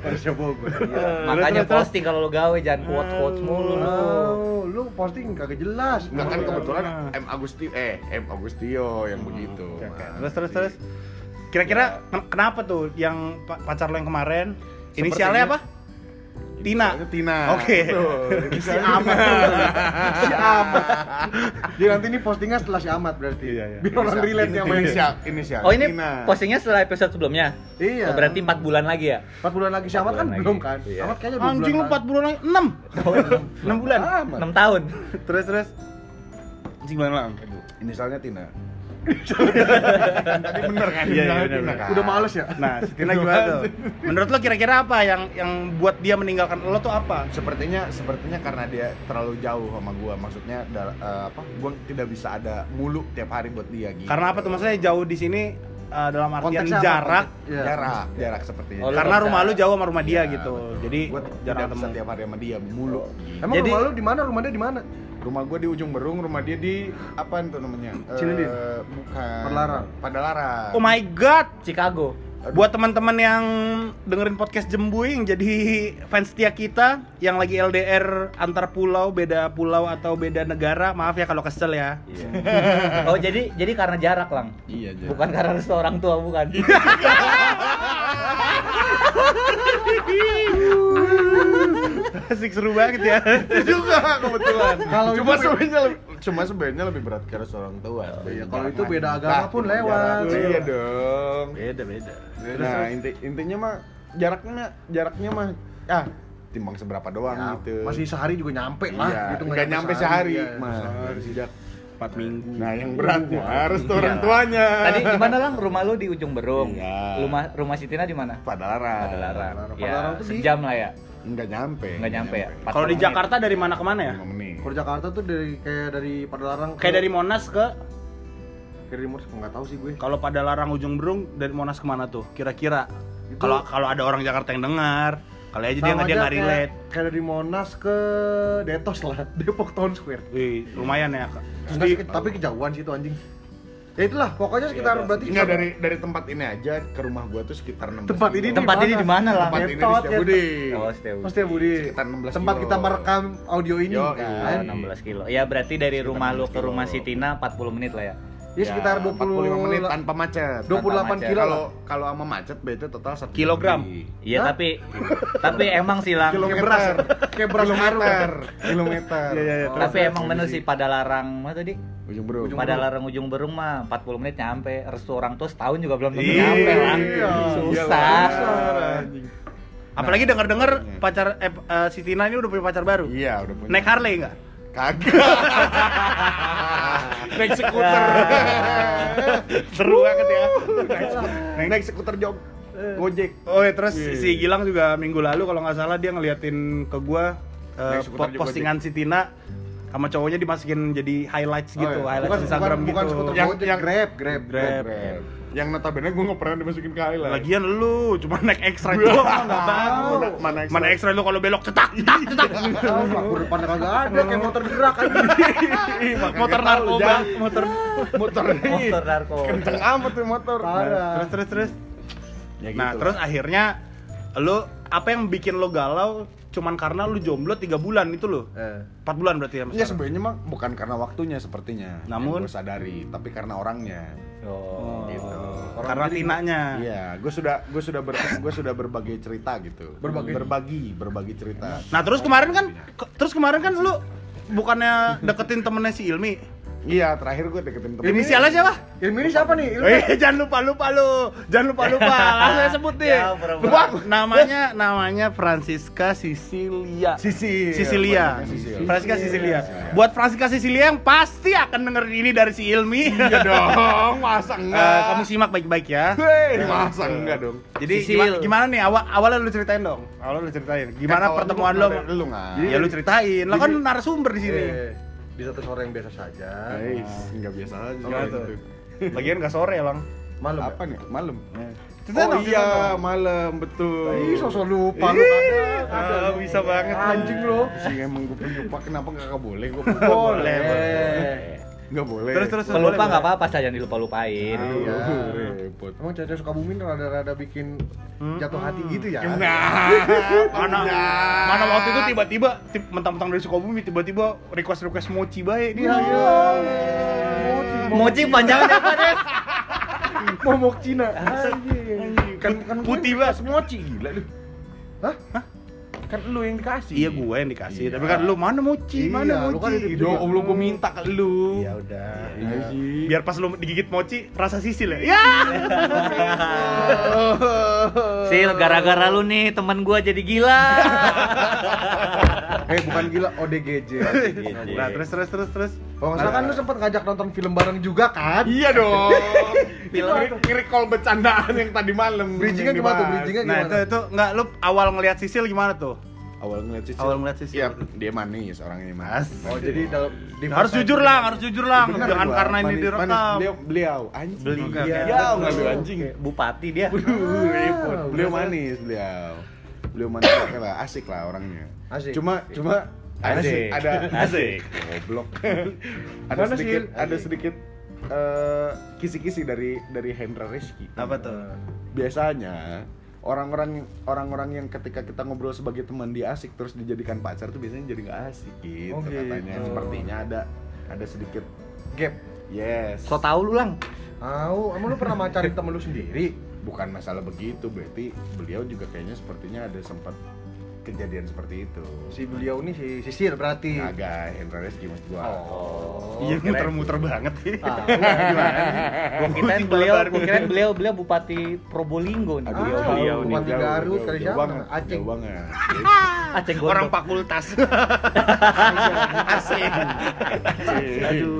Speaker 4: Manusia Bogor. iya.
Speaker 3: Makanya posting kalau lu gawe jangan quotes quotes mulu lu.
Speaker 4: Oh, lu posting kagak jelas.
Speaker 2: Enggak Iya. kan
Speaker 1: Iya.
Speaker 2: kebetulan M Agustio eh M Agustio yang begitu.
Speaker 1: Hmm,
Speaker 2: Nah,
Speaker 1: Oke, oke.
Speaker 2: Mas.
Speaker 1: Terus terus terus. Kira-kira ken- kenapa tuh yang pa- pacar lo yang kemarin? Inisialnya apa? Tina.
Speaker 2: Itu Tina.
Speaker 1: Oke. <laughs>
Speaker 2: Betul.
Speaker 4: Si Ahmad Si Ahmad Jadi nanti ini postingnya setelah si Ahmad berarti
Speaker 1: Iya, iya.
Speaker 4: Biar orang relate sama yang si
Speaker 2: inisial, inisial.
Speaker 3: Oh ini
Speaker 2: Tina.
Speaker 3: postingnya setelah episode sebelumnya.
Speaker 4: Iya
Speaker 3: Oh, berarti 4 bulan lagi ya?
Speaker 4: 4 bulan lagi si Ahmad kan
Speaker 3: bulan lagi.
Speaker 4: belum kan
Speaker 3: Iya.
Speaker 4: Ahmad kayaknya 2 bulan
Speaker 1: Anjing lu 4 bulan lagi 6. 6 bulan.
Speaker 4: Ahmad
Speaker 3: 6 tahun.
Speaker 1: Terus terus. Anjing bulan lang.
Speaker 2: Inisialnya Tina. Tadi bener
Speaker 1: Iya,
Speaker 2: kan?
Speaker 1: iya,
Speaker 2: Inisialnya
Speaker 1: bener,
Speaker 2: Tina
Speaker 1: bener.
Speaker 2: kan?
Speaker 4: Udah males ya?
Speaker 1: Nah, si Tina gimana tuh? Menurut lo kira-kira apa yang yang buat dia meninggalkan lo tuh apa?
Speaker 2: Sepertinya sepertinya karena dia terlalu jauh sama gua. Maksudnya dal- eh, apa? Gua tidak bisa ada mulu tiap hari buat dia gitu.
Speaker 1: Karena apa tuh maksudnya jauh di sini eh, dalam artian
Speaker 4: Konteksnya apa?
Speaker 1: jarak
Speaker 4: Iya.
Speaker 2: Jarak, jarak sepertinya.
Speaker 3: Oh, lu
Speaker 1: karena
Speaker 3: kontak.
Speaker 1: rumah lu jauh sama rumah dia
Speaker 2: Iya,
Speaker 1: gitu.
Speaker 2: betul.
Speaker 1: Jadi
Speaker 2: gua
Speaker 1: jarang
Speaker 2: tidak bisa
Speaker 1: ketemu.
Speaker 2: tiap hari sama dia
Speaker 4: Oh.
Speaker 2: mulu.
Speaker 4: Emang
Speaker 1: Jadi-
Speaker 4: rumah lu di mana? Rumah dia di mana?
Speaker 2: Rumah gua di ujung berung, rumah dia di apa tuh namanya?
Speaker 4: Cilindin?
Speaker 2: Eh, bukan.
Speaker 4: Padalarang?
Speaker 2: Padalarang. <laughs>
Speaker 1: Oh my god.
Speaker 3: Chicago.
Speaker 1: Buat teman-teman yang dengerin podcast Jembuing jadi fans setia kita yang lagi LDR antar pulau, beda pulau atau beda negara, maaf ya kalau kesel ya.
Speaker 3: <laughs> Oh jadi jadi karena jarak lang.
Speaker 2: Iya, jadi.
Speaker 3: Bukan karena restu orang tua bukan.
Speaker 1: <laughs> Asik seru banget ya.
Speaker 2: juga kebetulan.
Speaker 4: Kalau
Speaker 2: cuma
Speaker 4: itu-
Speaker 2: sebenarnya lebih- cuma sebenarnya lebih berat karena seorang tua.
Speaker 4: iya, kalau itu beda agama pun lewat.
Speaker 2: Iya dong.
Speaker 1: Beda beda.
Speaker 4: Ya
Speaker 2: Nah, inti, intinya mah jaraknya jaraknya mah ah timbang seberapa doang
Speaker 4: Ya,
Speaker 2: gitu.
Speaker 4: Masih sehari juga nyampe lah
Speaker 2: iya,
Speaker 4: gitu,
Speaker 2: nggak nyampe sehari.
Speaker 4: iya.
Speaker 2: Mah, sejak
Speaker 1: 4 minggu.
Speaker 2: Nah, yang beratnya harus tuh orang tuanya.
Speaker 3: Tadi gimana lang? Rumah lu di ujung Berung.
Speaker 2: Iya.
Speaker 3: Rumah rumah si Tina di mana?
Speaker 2: Padalarang.
Speaker 3: Padalarang. Ya,
Speaker 4: Padalarang tuh di-
Speaker 3: sejam lah ya.
Speaker 2: Enggak nyampe.
Speaker 3: Enggak nyampe ya.
Speaker 1: Kalau di Jakarta dari mana ke mana ya?
Speaker 2: Lima menit.
Speaker 4: Kalau Jakarta tuh dari kayak dari Padalarang
Speaker 1: Kayak dari Monas ke
Speaker 4: ke Rimur enggak tahu sih gue.
Speaker 1: kalau pada larang ujung berung dari Monas kemana tuh? Kira-kira
Speaker 4: Itu-
Speaker 1: kalau kalau ada orang Jakarta yang dengar, kali aja dia
Speaker 4: Sama
Speaker 1: nggak dia
Speaker 4: aja
Speaker 1: nggak
Speaker 4: kayak-
Speaker 1: relate.
Speaker 4: Kayak dari Monas ke Detos lah, <laughs> Depok Town Square.
Speaker 1: Wih, lumayan ya. Kak.
Speaker 4: Terus
Speaker 1: Jadi,
Speaker 4: ke- tapi kejauhan sih itu anjing. Ya itulah, pokoknya sekitar berarti
Speaker 2: Enggak dari dari tempat ini aja ke rumah gua tuh sekitar 16
Speaker 4: iya. tempat ini
Speaker 2: kilo.
Speaker 4: di
Speaker 3: Tempat ini di mana lah?
Speaker 2: tempat ini di
Speaker 4: Detot,
Speaker 2: Setiabudi.
Speaker 3: Oh, setiap
Speaker 4: Pasti ya Budi.
Speaker 2: Sekitar 16
Speaker 4: tempat
Speaker 2: kilo.
Speaker 4: kita merekam audio ini
Speaker 2: Yo,
Speaker 4: kan.
Speaker 3: Oh, 16 kilo. Ya berarti dari
Speaker 2: Sekitar
Speaker 3: rumah lu
Speaker 2: 16
Speaker 3: ke rumah si
Speaker 2: kilo.
Speaker 3: Tina 40 menit lah ya.
Speaker 4: Ya sekitar
Speaker 2: 45
Speaker 4: 20
Speaker 2: menit tanpa macet.
Speaker 4: 28
Speaker 3: macet.
Speaker 4: kilo
Speaker 2: Kalau
Speaker 4: lah.
Speaker 2: kalau sama macet berarti total 1
Speaker 1: Kilogram.
Speaker 3: Iya
Speaker 4: Hah?
Speaker 3: tapi tapi emang sih lang.
Speaker 4: Kayak beras, <laughs>
Speaker 2: Kilometer.
Speaker 4: kayak beras harum.
Speaker 2: kilometer. kilometer.
Speaker 1: Iya, iya, iya.
Speaker 4: Oh,
Speaker 3: Tapi
Speaker 4: terus,
Speaker 3: emang bener sih pada larang mana tadi?
Speaker 2: Ujung bro.
Speaker 3: pada larang ujung berung mah 40 menit nyampe. Restu orang tua setahun juga belum tentu
Speaker 1: Iya.
Speaker 3: nyampe lang.
Speaker 4: Iya.
Speaker 3: Susah.
Speaker 1: apalagi dengar-dengar
Speaker 4: Iya.
Speaker 1: pacar eh, eh, si Tina ini udah punya pacar baru.
Speaker 2: Iya, udah punya.
Speaker 1: Naik Harley nggak?
Speaker 2: Kagak. Naik skuter.
Speaker 1: Seru banget ya.
Speaker 2: Naik, naik skuter jog.
Speaker 4: Eh. <laughs>
Speaker 2: Gojek.
Speaker 1: Oh ya terus si Gilang juga minggu lalu kalau nggak salah dia ngeliatin ke gua eh,
Speaker 2: Naik skuter
Speaker 1: po-
Speaker 2: juga,
Speaker 1: postingan si Tina sama cowoknya dimasukin jadi highlights
Speaker 4: Oh,
Speaker 1: gitu,
Speaker 4: iya.
Speaker 1: highlights
Speaker 4: Bukan-
Speaker 1: Instagram
Speaker 4: bukan-
Speaker 1: gitu.
Speaker 4: bukan skuter
Speaker 2: Yang-
Speaker 4: Gojek,
Speaker 2: yang-
Speaker 4: Grab, Grab,
Speaker 1: Grab.
Speaker 2: Yang notabene gue nggak pernah dimasukin ke highlight.
Speaker 1: Lagian lu cuma naik
Speaker 4: <laughs>
Speaker 1: extra doang nggak tahu.
Speaker 2: Mana- mana extra?
Speaker 1: Mana extra lu kalau belok cetak cetak
Speaker 4: <laughs>
Speaker 1: cetak.
Speaker 4: Tahu lah, gua depannya kagak ada kayak motor gerak kan.
Speaker 1: motor
Speaker 2: tahu,
Speaker 1: narkoba,
Speaker 2: Jan.
Speaker 1: motor.
Speaker 2: motor ini.
Speaker 3: Motor narkoba.
Speaker 2: Kenceng amat tuh motor.
Speaker 4: Parah.
Speaker 1: Nah, Terus terus terus.
Speaker 2: Ya
Speaker 1: Nah,
Speaker 2: gitu.
Speaker 1: terus akhirnya lu apa yang bikin lo galau cuman karena lu jomblo 3 bulan itu lo.
Speaker 4: Eh.
Speaker 1: 4 bulan berarti ya Mas.
Speaker 2: Ya sebenarnya mah bukan karena waktunya sepertinya.
Speaker 1: Namun?
Speaker 2: gue sadari, tapi karena orangnya.
Speaker 3: Oh.
Speaker 2: Gitu.
Speaker 1: Iya. Karena tinanya.
Speaker 2: Iya, gue sudah gue sudah ber, gue sudah berbagai cerita gitu.
Speaker 4: Berbagi.
Speaker 2: berbagi, nah. berbagi cerita.
Speaker 1: Nah, terus kemarin kan ke- terus kemarin kan lu bukannya deketin temennya si Ilmi.
Speaker 2: Iya, terakhir gue deketin temen.
Speaker 1: Inisial aja lah.
Speaker 4: Ilmi ini siapa nih? Ilmi.
Speaker 1: Eh, <laughs> jangan lupa lupa lu. Jangan lupa lupa. Langsung sebut deh.
Speaker 3: Ya, pura-pura.
Speaker 1: Lupa. Namanya namanya Francisca Sicilia. Iya,
Speaker 2: Sisi.
Speaker 1: Sicilia.
Speaker 2: Sisi.
Speaker 1: Francisca Sicilia. Buat Francisca Sicilia yang pasti akan dengerin ini dari si Ilmi.
Speaker 2: Iya dong,
Speaker 1: <laughs>
Speaker 2: masa
Speaker 1: Eh,
Speaker 2: enggak?
Speaker 1: kamu simak baik-baik ya.
Speaker 2: Hei, masa enggak dong?
Speaker 1: <laughs> Jadi
Speaker 3: Sisil.
Speaker 1: gimana, gimana nih awal awalnya lu ceritain dong. Awalnya lu ceritain. Gimana
Speaker 2: Eh, kalau
Speaker 1: pertemuan
Speaker 2: lu-
Speaker 1: lo?
Speaker 2: Lu nggak?
Speaker 1: Ya lu ceritain. Lah kan
Speaker 4: Jadi-
Speaker 1: narasumber di sini.
Speaker 4: Eh, Di satu sore yang biasa saja.
Speaker 2: Guys, nggak biasa aja.
Speaker 1: Nggak
Speaker 2: gitu.
Speaker 1: tuh. Bagian gak sore, Lang.
Speaker 4: Malam. Apa?
Speaker 2: Apa nih? Malam.
Speaker 1: Ceritain
Speaker 2: oh
Speaker 1: dong,
Speaker 2: iya,
Speaker 1: ceritain dong.
Speaker 2: malam betul.
Speaker 4: Ih, sosok lupa lu.
Speaker 1: Ih,
Speaker 4: ada- ada
Speaker 1: ah,
Speaker 4: lu.
Speaker 1: bisa banget.
Speaker 4: Anjing lu.
Speaker 2: Sih emang gue lupa kenapa kakak boleh gue
Speaker 1: Boleh,
Speaker 2: Nggak boleh.
Speaker 1: Terus, terus. Boleh,
Speaker 3: Eh. Pelupa
Speaker 1: boleh.
Speaker 3: nggak apa-apa saja dilupa-lupain.
Speaker 2: Iya,
Speaker 4: Iya.
Speaker 2: repot.
Speaker 4: Emang cewek suka bumi rada-rada bikin
Speaker 1: Hmm.
Speaker 4: jatuh hati gitu ya?
Speaker 1: Mana mana waktu itu tiba-tiba tip- mentang-mentang dari Sukabumi tiba-tiba request-request mochi baik dia.
Speaker 4: Iya.
Speaker 3: Mochi panjangnya apa deh?
Speaker 4: Momok Cina. Anjing.
Speaker 1: Kan
Speaker 4: Kan- kan gue
Speaker 1: putih banget.
Speaker 2: Mochi gila lu.
Speaker 4: Hah?
Speaker 2: Kan lu yang dikasih.
Speaker 1: Iya gue yang dikasih,
Speaker 2: Iya.
Speaker 1: tapi kan lu mana mochi, mana
Speaker 4: Iya, lu kan
Speaker 1: mochi. Gitu.
Speaker 4: itu-
Speaker 2: Yo, belum gue minta ke lu.
Speaker 1: Ya udah.
Speaker 2: Iya sih.
Speaker 1: Biar pas lu digigit mochi rasa sisil ya. Ya.
Speaker 3: Sil, gara-gara lu nih teman gua jadi gila.
Speaker 4: Eh bukan gila
Speaker 1: <laughs>
Speaker 4: ODGJ.
Speaker 1: Nah, terus terus terus terus.
Speaker 4: Kalau nggak salah kan lu sempet ngajak nonton film bareng juga kan?
Speaker 2: Iya dong.
Speaker 4: Film.
Speaker 2: Film nge-recall gitu, bercandaan yang tadi malam.
Speaker 4: Bridgingnya
Speaker 2: Yang
Speaker 4: gimana tuh?
Speaker 2: dibahas.
Speaker 4: Bridgingnya
Speaker 1: <laughs> Iya. Nah, itu
Speaker 4: Iya, gimana?
Speaker 1: itu enggak lu awal ngelihat sisil gimana tuh?
Speaker 2: Awal ngeliat Sisil.
Speaker 1: Awal ngeliat Sisil.
Speaker 2: Iya, dia manis orangnya
Speaker 1: Mas.
Speaker 2: manis.
Speaker 4: Oh jadi dalam di
Speaker 1: harus jujur lah, harus jujur lah.
Speaker 2: Bener,
Speaker 1: Jangan
Speaker 2: gua.
Speaker 1: karena ini
Speaker 2: Manis- manis.
Speaker 1: direkam.
Speaker 2: Beliau beliau anjing.
Speaker 1: Beliau.
Speaker 4: Iya,
Speaker 2: Beliau nggak lu anjing.
Speaker 3: Bupati dia.
Speaker 4: Ah,
Speaker 2: Waduh, repot.
Speaker 4: udah
Speaker 2: Beliau
Speaker 4: salah.
Speaker 2: manis beliau. Beliau manis <coughs> oke lah, asik lah orangnya.
Speaker 4: Asik.
Speaker 2: Cuma cuma
Speaker 3: Asik.
Speaker 4: <laughs>
Speaker 2: ada
Speaker 3: Asik.
Speaker 2: goblok. ada
Speaker 4: Mana sih?
Speaker 2: sedikit ada
Speaker 4: Asik.
Speaker 2: sedikit eh, kisi-kisi dari dari Hendra Rizky.
Speaker 1: Apa tuh?
Speaker 2: Biasanya orang-orang orang-orang yang ketika kita ngobrol sebagai teman dia asik terus dijadikan pacar tuh biasanya jadi nggak asik gitu
Speaker 4: Oh, gitu.
Speaker 2: katanya. Sepertinya ada ada sedikit
Speaker 4: gap.
Speaker 2: yes.
Speaker 3: So tau lu lang.
Speaker 4: Au, emang lu pernah macarin temen lu sendiri?
Speaker 2: bukan masalah begitu berarti beliau juga kayaknya sepertinya ada sempat kejadian seperti itu
Speaker 4: Si beliau ini si Sisir berarti.
Speaker 2: agak Hendra Rizky maksud gua
Speaker 4: Oh.
Speaker 1: Iya, muter-muter banget.
Speaker 4: Ah,
Speaker 3: Gua
Speaker 2: <laughs>
Speaker 3: kirain beliau, gua kirain beliau beliau Bupati Probolinggo nih.
Speaker 2: Aduh,
Speaker 3: Beliau,
Speaker 4: Ah,
Speaker 3: beliau nih.
Speaker 4: Bupati Garut, kali
Speaker 2: jauh
Speaker 4: siapa?
Speaker 2: banget,
Speaker 4: Aceh.
Speaker 2: jauh banget.
Speaker 3: Aceh gua.
Speaker 1: Orang
Speaker 2: <laughs>
Speaker 1: fakultas.
Speaker 2: asing aduh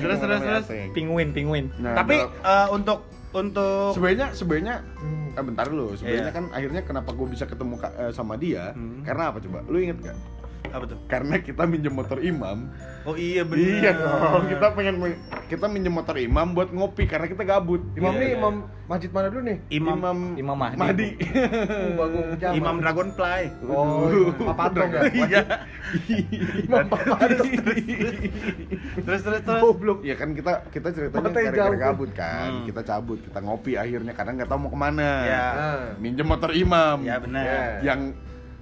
Speaker 1: Nah, terus, terus, terus.
Speaker 3: pinguin, pinguin.
Speaker 1: Tapi eh, untuk untuk
Speaker 2: sebenarnya sebenarnya
Speaker 4: Hmm.
Speaker 2: eh, bentar dulu sebenarnya
Speaker 1: Iya.
Speaker 2: kan akhirnya kenapa gua bisa ketemu ka- eh, sama dia
Speaker 1: Hmm.
Speaker 2: karena apa coba lu inget gak
Speaker 1: apa tuh?
Speaker 2: karena kita minjem motor imam
Speaker 1: Oh iya benar.
Speaker 2: iya dong kita pengen men- kita minjem motor imam buat ngopi karena kita gabut
Speaker 4: <laughs> Imam
Speaker 1: Iya,
Speaker 4: nih,
Speaker 1: iya.
Speaker 4: Imam masjid mana dulu nih?
Speaker 1: Imam Imam,
Speaker 3: Imam Mahdi.
Speaker 4: Bagong Jamal.
Speaker 1: Dragonfly.
Speaker 4: Oh, Imam Papatong ya?
Speaker 1: <laughs> Iya.
Speaker 2: Iya.
Speaker 4: Imam Papatong.
Speaker 1: Terus terus terus.
Speaker 2: goblok ya kan kita kita ceritanya
Speaker 4: Matanya
Speaker 2: gara-gara
Speaker 4: jauh.
Speaker 2: gabut kan
Speaker 1: Hmm.
Speaker 2: kita cabut kita ngopi akhirnya karena nggak tahu mau kemana
Speaker 1: Ya.
Speaker 4: Ah.
Speaker 2: minjem motor imam
Speaker 1: Ya benar.
Speaker 4: Iya.
Speaker 2: yang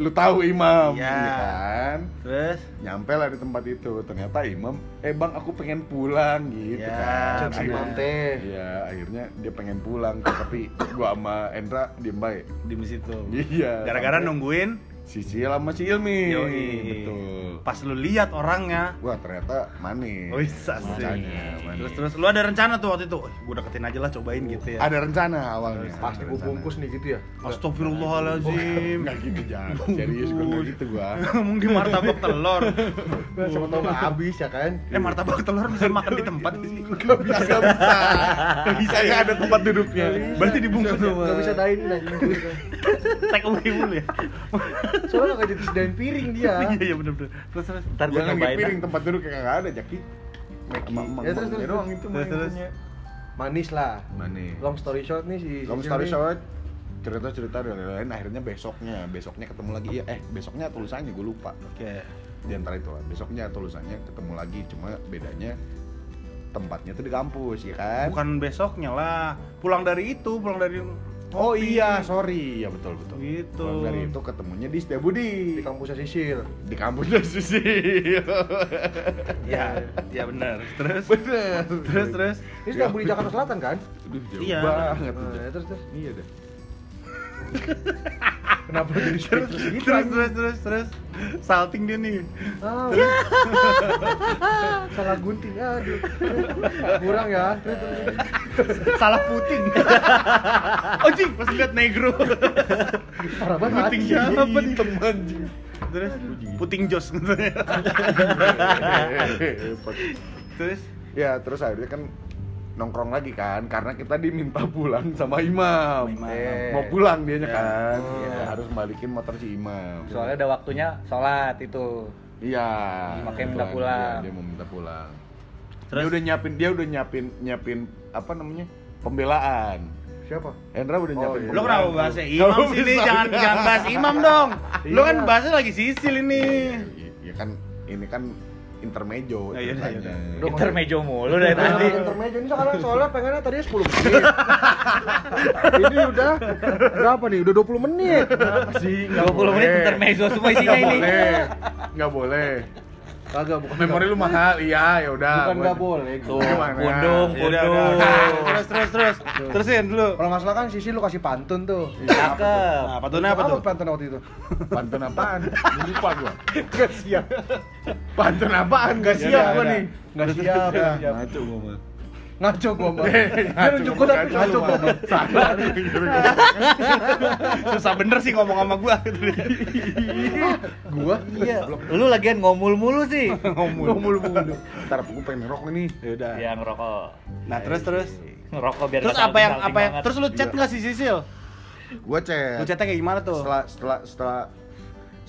Speaker 2: lu tahu imam
Speaker 1: Iya.
Speaker 2: ya kan
Speaker 1: Terus
Speaker 2: nyampe lah di tempat itu ternyata imam eh bang aku pengen pulang gitu
Speaker 1: Ya,
Speaker 2: kan
Speaker 1: benar.
Speaker 4: Si Imam teh.
Speaker 2: Iya, akhirnya dia pengen pulang tapi gua sama Endra diem baik <laughs>
Speaker 1: di situ.
Speaker 2: iya
Speaker 1: Gara-gara
Speaker 2: Sampai
Speaker 1: nungguin
Speaker 2: Sisil sama si Ilmi
Speaker 1: Yoi.
Speaker 2: betul
Speaker 1: pas lu lihat orangnya.
Speaker 2: wah ternyata manis
Speaker 1: Wih, asik.
Speaker 2: Iya, Makanya, manis.
Speaker 1: Terus terus lu ada rencana tuh waktu itu. "Wih, Gua deketin aja lah cobain gitu ya.
Speaker 2: ada rencana awalnya
Speaker 4: Pasti
Speaker 2: ada
Speaker 4: gua
Speaker 2: rencana.
Speaker 4: bungkus nih gitu ya.
Speaker 1: Astagfirullahalazim.
Speaker 2: Nggak gitu jangan serius gue nggak gitu gua
Speaker 1: <laughs> Mungkin martabak telur.
Speaker 2: <laughs>
Speaker 4: Nah,
Speaker 2: Iya.
Speaker 4: Siapa tahu nggak habis ya kan?
Speaker 1: Eh martabak telur bisa makan di tempat sih.
Speaker 2: nggak bisa nggak bisa nggak bisa ya? nggak ada tempat duduknya
Speaker 1: Berarti dibungkus ya.
Speaker 4: Gak bisa dain dain gitu.
Speaker 1: Take away dulu ya.
Speaker 4: Soalnya gak jadi sedain piring dia.
Speaker 1: <laughs> Iya iya benar benar. Terus terus.
Speaker 3: Ntar gua
Speaker 2: jangan
Speaker 3: cobain.
Speaker 2: piring tempat duduk yang nggak ada jaki
Speaker 4: Ya, terus, terus,
Speaker 2: doang
Speaker 4: terus.
Speaker 2: itu
Speaker 1: Terus, terus.
Speaker 2: mainnya
Speaker 4: Manis lah.
Speaker 2: manis
Speaker 4: Long story short nih si
Speaker 2: long
Speaker 4: si
Speaker 2: story
Speaker 4: Jimmy.
Speaker 2: short cerita cerita dan lain-lain akhirnya besoknya besoknya ketemu lagi iya eh besoknya tulisannya gue lupa
Speaker 1: Oke.
Speaker 2: di antara itu lah besoknya tulisannya ketemu lagi cuma bedanya tempatnya tuh di kampus ya kan
Speaker 1: Bukan besoknya lah. Pulang dari itu, pulang dari
Speaker 2: oh iya sorry ya betul betul
Speaker 1: Gitu.
Speaker 2: Pulang dari itu ketemunya di Setiabudi
Speaker 4: di kampusnya Sisil.
Speaker 2: di kampusnya Sisil
Speaker 1: Iya, iya benar. Terus
Speaker 2: bener
Speaker 1: terus terus.
Speaker 4: Ini sudah beli Jakarta Selatan kan? ya,
Speaker 2: Aduh, jauh
Speaker 4: Eh.
Speaker 1: Iya.
Speaker 2: banget
Speaker 4: Nah, terus terus.
Speaker 2: iya deh
Speaker 4: Kenapa jadi
Speaker 1: terus
Speaker 4: speechless gitu?
Speaker 1: terus terus terus terus salting dia nih <laughs>
Speaker 4: Ah, <laughs> salah gunting aduh. Kurang ya. Terus terus. terus.
Speaker 1: salah Putin oh jing pas lihat negro
Speaker 4: Parah banget.
Speaker 1: Gunting
Speaker 4: anjing.
Speaker 1: siapa, Ben?
Speaker 4: Teman.
Speaker 1: terus puting jos <laughs> terus
Speaker 2: ya terus akhirnya kan nongkrong lagi kan karena kita diminta pulang sama imam,
Speaker 1: Imam.
Speaker 2: Eh, mau pulang dianya
Speaker 1: Ya.
Speaker 2: kan
Speaker 1: Iya.
Speaker 2: Ya, harus balikin motor si imam
Speaker 3: Soalnya ada waktunya sholat itu.
Speaker 2: iya
Speaker 3: Makanya minta
Speaker 2: Kebetulan,
Speaker 3: pulang.
Speaker 2: iya, dia mau minta pulang
Speaker 1: Terus?
Speaker 2: dia udah nyiapin dia udah nyiapin nyiapin apa namanya pembelaan
Speaker 4: Siapa?
Speaker 2: Hendra udah
Speaker 4: Oh,
Speaker 2: nyiapin
Speaker 4: iya.
Speaker 1: lo kenapa bahasnya
Speaker 2: Kalau
Speaker 1: imam sih Li?
Speaker 2: bisa.
Speaker 1: jangan jangan bahas imam dong lo kan
Speaker 4: Iya.
Speaker 1: bahasnya lagi sisil ini
Speaker 2: ya, ya kan ini kan intermejo
Speaker 1: Ya, iya,
Speaker 2: ceritanya.
Speaker 1: iya, iya.
Speaker 4: Udah,
Speaker 3: Intermejo mulu dari
Speaker 4: Nah,
Speaker 3: tadi.
Speaker 4: intermezzo ini sekarang soalnya pengennya tadinya 10 menit. ini udah berapa nih? Udah 20 menit.
Speaker 2: Apa sih Nggak
Speaker 3: 20 menit
Speaker 2: boleh.
Speaker 3: intermezzo semua isinya
Speaker 2: Nggak
Speaker 3: ini.
Speaker 2: boleh nggak boleh
Speaker 4: Kagak bukan.
Speaker 2: memori lu mahal iya ya udah
Speaker 4: Bukan nggak boleh.
Speaker 3: Tuh,
Speaker 2: Gimana?
Speaker 3: pundung,
Speaker 1: Ya udah, udah.
Speaker 3: pundung.
Speaker 1: terus terus terus terusin dulu
Speaker 4: Kalau nggak salah kan sisi lu kasih pantun tuh.
Speaker 3: Cakep.
Speaker 1: nah patunnya apa tuh
Speaker 4: pantun waktu itu?
Speaker 2: pantun apaan lupa gua
Speaker 4: Gak siap.
Speaker 2: pantun apaan Iya, gak
Speaker 4: Ya,
Speaker 2: siap
Speaker 4: ya,
Speaker 2: gua
Speaker 4: ya.
Speaker 2: nih
Speaker 4: Nggak siap, nggak siap.
Speaker 2: ngaco gua mah
Speaker 4: <laughs> Ngaco gua, Bang. Dia nunjuk gua tapi ngaco
Speaker 2: ngaco
Speaker 4: gua, Bang.
Speaker 2: salah
Speaker 1: susah bener sih ngomong sama gua
Speaker 4: Gua?
Speaker 3: Iya. Lu lagian ngomul mulu sih.
Speaker 1: ngomong
Speaker 4: Mulu-mulu.
Speaker 2: ntar gua pengen ngerokok nih
Speaker 1: yaudah
Speaker 3: Iya ngerokok.
Speaker 1: nah terus terus
Speaker 3: Ngerokok biar
Speaker 1: terus
Speaker 3: nggak
Speaker 1: apa yang
Speaker 3: salting-salting
Speaker 1: apa yang
Speaker 3: banget.
Speaker 1: terus lu chat
Speaker 4: Iya.
Speaker 1: nggak sih sisil
Speaker 2: gua chat
Speaker 1: lu chatnya kayak gimana tuh
Speaker 2: setelah setelah setelah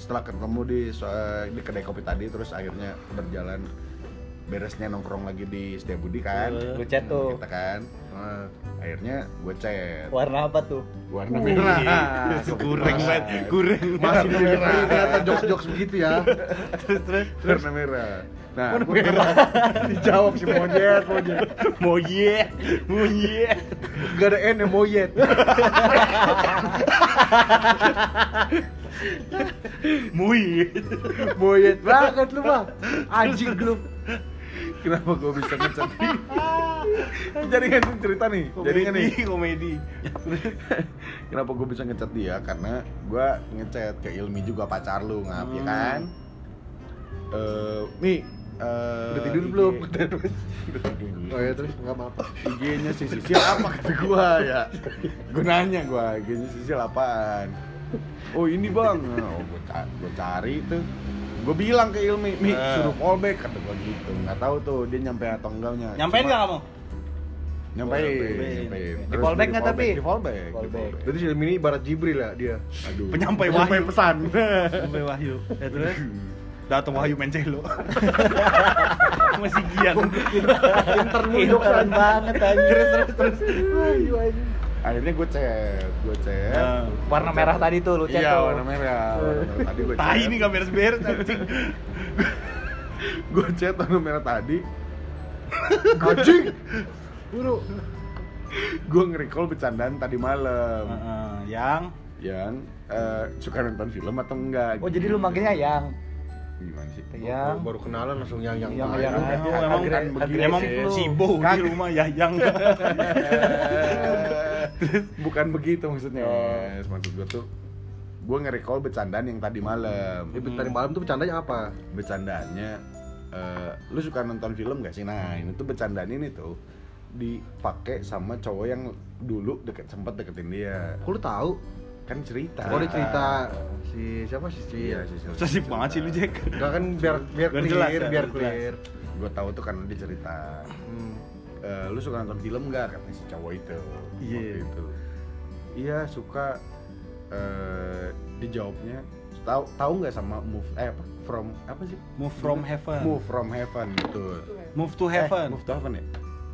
Speaker 2: setelah ketemu di so- eh, di kedai kopi tadi terus akhirnya berjalan beresnya nongkrong lagi di Setiabudi kan
Speaker 3: Lu chat tuh.
Speaker 2: kita kan Nah, akhirnya gue chat
Speaker 3: Warna apa tuh?
Speaker 2: warna
Speaker 1: Nah,
Speaker 2: merah
Speaker 1: Kurang banget,
Speaker 2: Nah.
Speaker 1: kurang
Speaker 4: Masih
Speaker 2: Warna
Speaker 4: punya
Speaker 2: merah.
Speaker 4: ternyata jokes-jokes begitu ya.
Speaker 1: Nah, terus terus
Speaker 2: warna merah nah
Speaker 4: Warna
Speaker 2: gua-
Speaker 4: merah. Dijawab si monyet, monyet.
Speaker 1: mau ye mau ye
Speaker 4: Gak ada N yang monyet.
Speaker 1: mau ye
Speaker 4: Monyet banget lu, Bang. Anjing lu.
Speaker 2: kenapa gue bisa ngechat jadi kan cerita nih jadi kan nih
Speaker 1: komedi
Speaker 2: kenapa gue bisa ngechat dia karena gue ngechat ke Ilmi juga pacar lu ngap ya
Speaker 1: Hmm.
Speaker 2: kan eh mi eh,
Speaker 4: Udah tidur
Speaker 2: IG-
Speaker 4: belum?
Speaker 2: udah tidur
Speaker 4: Oh ya terus nggak apa-apa.
Speaker 2: IG-nya si Sisil apa kata gua ya gua nanya gua IG-nya Sisil apaan oh ini bang Nah, oh, gua, ca- gua cari tuh gua bilang ke Ilmi Mi
Speaker 1: Eh.
Speaker 2: suruh callback kata gua gitu nggak tahu tuh dia nyampe atau enggaknya
Speaker 1: nyampein nggak
Speaker 2: Cuma-
Speaker 1: kamu
Speaker 2: nyampein
Speaker 1: Nyampein.
Speaker 2: nyampein.
Speaker 3: Di
Speaker 2: Terus
Speaker 3: callback nggak
Speaker 2: callback,
Speaker 3: tapi?
Speaker 2: di callback di
Speaker 3: Callback.
Speaker 2: callback.
Speaker 4: Berarti si Ilmi ini ibarat Jibril ya dia.
Speaker 2: aduh
Speaker 1: Penyampai
Speaker 2: Penyampai
Speaker 1: wahyu.
Speaker 2: pesan
Speaker 1: sampai Wahyu ya terus <laughs> datang Wahyu mencelo <laughs> masih gian
Speaker 4: Pinter lu jokes
Speaker 3: Keren
Speaker 4: anjing.
Speaker 3: banget anjir.
Speaker 1: terus terus terus
Speaker 4: Ayo anjing.
Speaker 2: akhirnya gua chat gua chat
Speaker 1: Nah,
Speaker 3: Warna
Speaker 2: Gua
Speaker 3: merah
Speaker 2: chat.
Speaker 3: tadi tuh lu chat
Speaker 2: iya
Speaker 3: tuh.
Speaker 2: warna merah warna merah tadi gua
Speaker 1: tai
Speaker 2: chat.
Speaker 1: ini nggak beres beres anjing
Speaker 2: gua chat warna merah tadi
Speaker 4: Anjing. Buru.
Speaker 2: gua nge-recall bercandaan tadi malam
Speaker 1: Heeh, yang
Speaker 2: yang eh, suka nonton film atau enggak
Speaker 3: Oh jadi lu Iya. manggilnya yang
Speaker 2: gimana sih
Speaker 3: yang
Speaker 4: Baru kenalan langsung yang yang
Speaker 3: Yang-
Speaker 4: yang.
Speaker 3: yang-
Speaker 1: Aduh, emang
Speaker 3: agre-
Speaker 2: begini.
Speaker 1: emang
Speaker 3: agresif lu.
Speaker 1: si Bo di rumah ya <laughs> yang
Speaker 2: <laughs> Terus, bukan begitu maksudnya
Speaker 3: Oh.
Speaker 2: Yes, maksud gua tuh gua nge-recall bercandaan yang tadi malam
Speaker 4: Ibu tadi malam tuh bercandanya apa?
Speaker 2: bercandaannya eh, lu suka nonton film gak sih nah ini tuh bercandaan ini tuh dipakai sama cowok yang dulu deket sempat deketin dia
Speaker 4: Kok lu tahu?
Speaker 2: kan cerita
Speaker 4: Oh dia cerita si siapa sih si?
Speaker 2: iya sih
Speaker 1: sesip banget sih lu Jack
Speaker 4: Enggak kan biar biar
Speaker 1: Biar jelas
Speaker 4: clear,
Speaker 1: ya,
Speaker 4: biar
Speaker 1: biar jelas.
Speaker 4: clear.
Speaker 2: gue tahu tuh karena dia cerita
Speaker 4: Hmm.
Speaker 2: Eh, lu suka nonton film nggak katanya si cowok itu
Speaker 1: Iya.
Speaker 2: waktu itu iya suka eh dijawabnya tahu tahu nggak sama move eh apa from apa sih
Speaker 1: move from heaven
Speaker 2: move from heaven gitu
Speaker 1: move to
Speaker 2: Eh,
Speaker 1: heaven
Speaker 2: move to heaven ya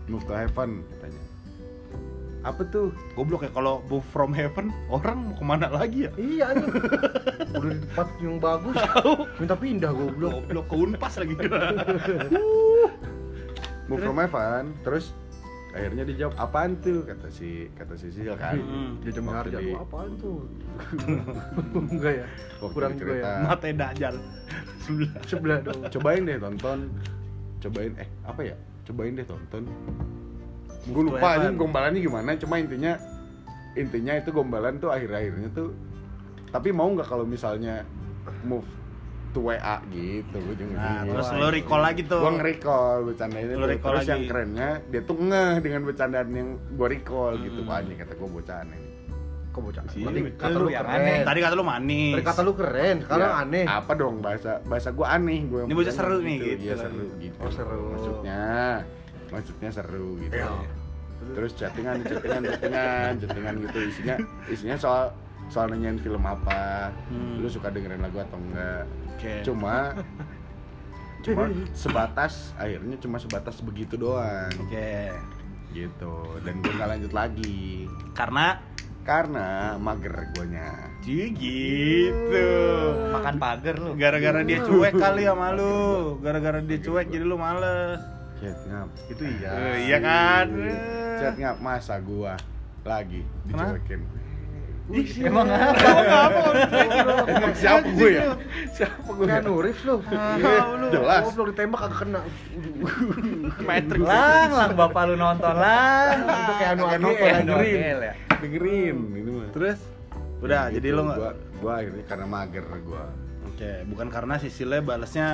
Speaker 2: move to heaven katanya apa tuh
Speaker 1: goblok ya kalau move from heaven orang mau kemana lagi ya
Speaker 4: Iya anjing. Udah di tempat yang bagus. Minta pindah goblok.
Speaker 1: goblok ke unpas <laughs> lagi
Speaker 2: move from heaven terus akhirnya dijawab apaan tuh kata si kata si Sisil kan
Speaker 1: Hmm.
Speaker 4: Dia cuma
Speaker 2: Waktu
Speaker 4: harga
Speaker 2: di-
Speaker 4: lu apaan tuh? <laughs> Enggak ya.
Speaker 2: waktu
Speaker 4: Kurang juga
Speaker 2: dicerita,
Speaker 4: ya.
Speaker 1: mata dajal sebelah
Speaker 4: Sebelah dong.
Speaker 2: cobain deh tonton cobain eh apa ya cobain deh tonton gue
Speaker 1: Move to
Speaker 2: lupa aja
Speaker 1: heaven.
Speaker 2: gombalannya gimana cuma intinya intinya itu gombalan tuh akhir-akhirnya tuh Tapi mau nggak kalau misalnya move to WA gitu gue juga
Speaker 1: Nah,
Speaker 2: bingung.
Speaker 1: terus lo recall lagi tuh.
Speaker 2: Gue nge-recall bercandaan itu
Speaker 1: Lu recall
Speaker 2: Terus
Speaker 1: lagi.
Speaker 2: yang kerennya dia tuh ngeh dengan bercandaan yang gue recall
Speaker 1: Hmm.
Speaker 2: gitu Wah anjing kata gue bocah aneh
Speaker 4: Kok bocah?
Speaker 2: Sih,
Speaker 4: Berarti
Speaker 2: lu
Speaker 4: kata lu
Speaker 3: yang
Speaker 4: keren.
Speaker 3: aneh.
Speaker 1: Tadi kata lu manis.
Speaker 4: Tadi kata lu keren, sekarang
Speaker 2: Ya,
Speaker 4: aneh.
Speaker 2: Apa dong bahasa bahasa gue aneh gue
Speaker 1: Ini bocah seru nih, gitu.
Speaker 2: Iya seru gitu
Speaker 4: Oh, seru.
Speaker 2: Maksudnya Maksudnya seru gitu
Speaker 4: Iya.
Speaker 2: Terus chattingan, chattingan, chattingan, chattingan gitu isinya isinya soal soal nanyain film apa,
Speaker 1: Hmm.
Speaker 2: lu suka dengerin lagu atau enggak,
Speaker 1: Oke. <laughs>
Speaker 2: cuma cuma sebatas akhirnya cuma sebatas begitu doang
Speaker 1: Oke.
Speaker 2: gitu dan gue nggak lanjut lagi
Speaker 1: Karena
Speaker 2: karena mager guanya
Speaker 1: Ji, gitu.
Speaker 3: Makan pagar lu.
Speaker 1: Gara-gara dia cuek kali ya, sama lu. Gara-gara dia cuek jadi lu males.
Speaker 2: chat ngap
Speaker 4: Itu iya.
Speaker 1: Eh, iya kan?
Speaker 2: chat ngap masa gua lagi
Speaker 1: Kenapa? <laughs>
Speaker 2: dicuekin
Speaker 4: Ih,
Speaker 3: Emang apa?
Speaker 2: emang siapa gue ya siapa gue ya
Speaker 4: Nggak nurif lu.
Speaker 1: Ah, lu.
Speaker 2: Jelas.
Speaker 4: Goblok ditembak kagak kena.
Speaker 1: Matrix.
Speaker 3: Lang, lang bapak lu nonton lang.
Speaker 4: Itu kayak anu
Speaker 2: Kayak
Speaker 4: anu
Speaker 2: nonton
Speaker 4: ya.
Speaker 2: anu.
Speaker 3: Dengerin. ya.
Speaker 2: dengerin gitu mah Gitu,
Speaker 1: Terus udah jadi lu nggak
Speaker 2: Iya, gua, gua akhirnya karena mager gua
Speaker 1: Oke, bukan karena Sisilnya balesnya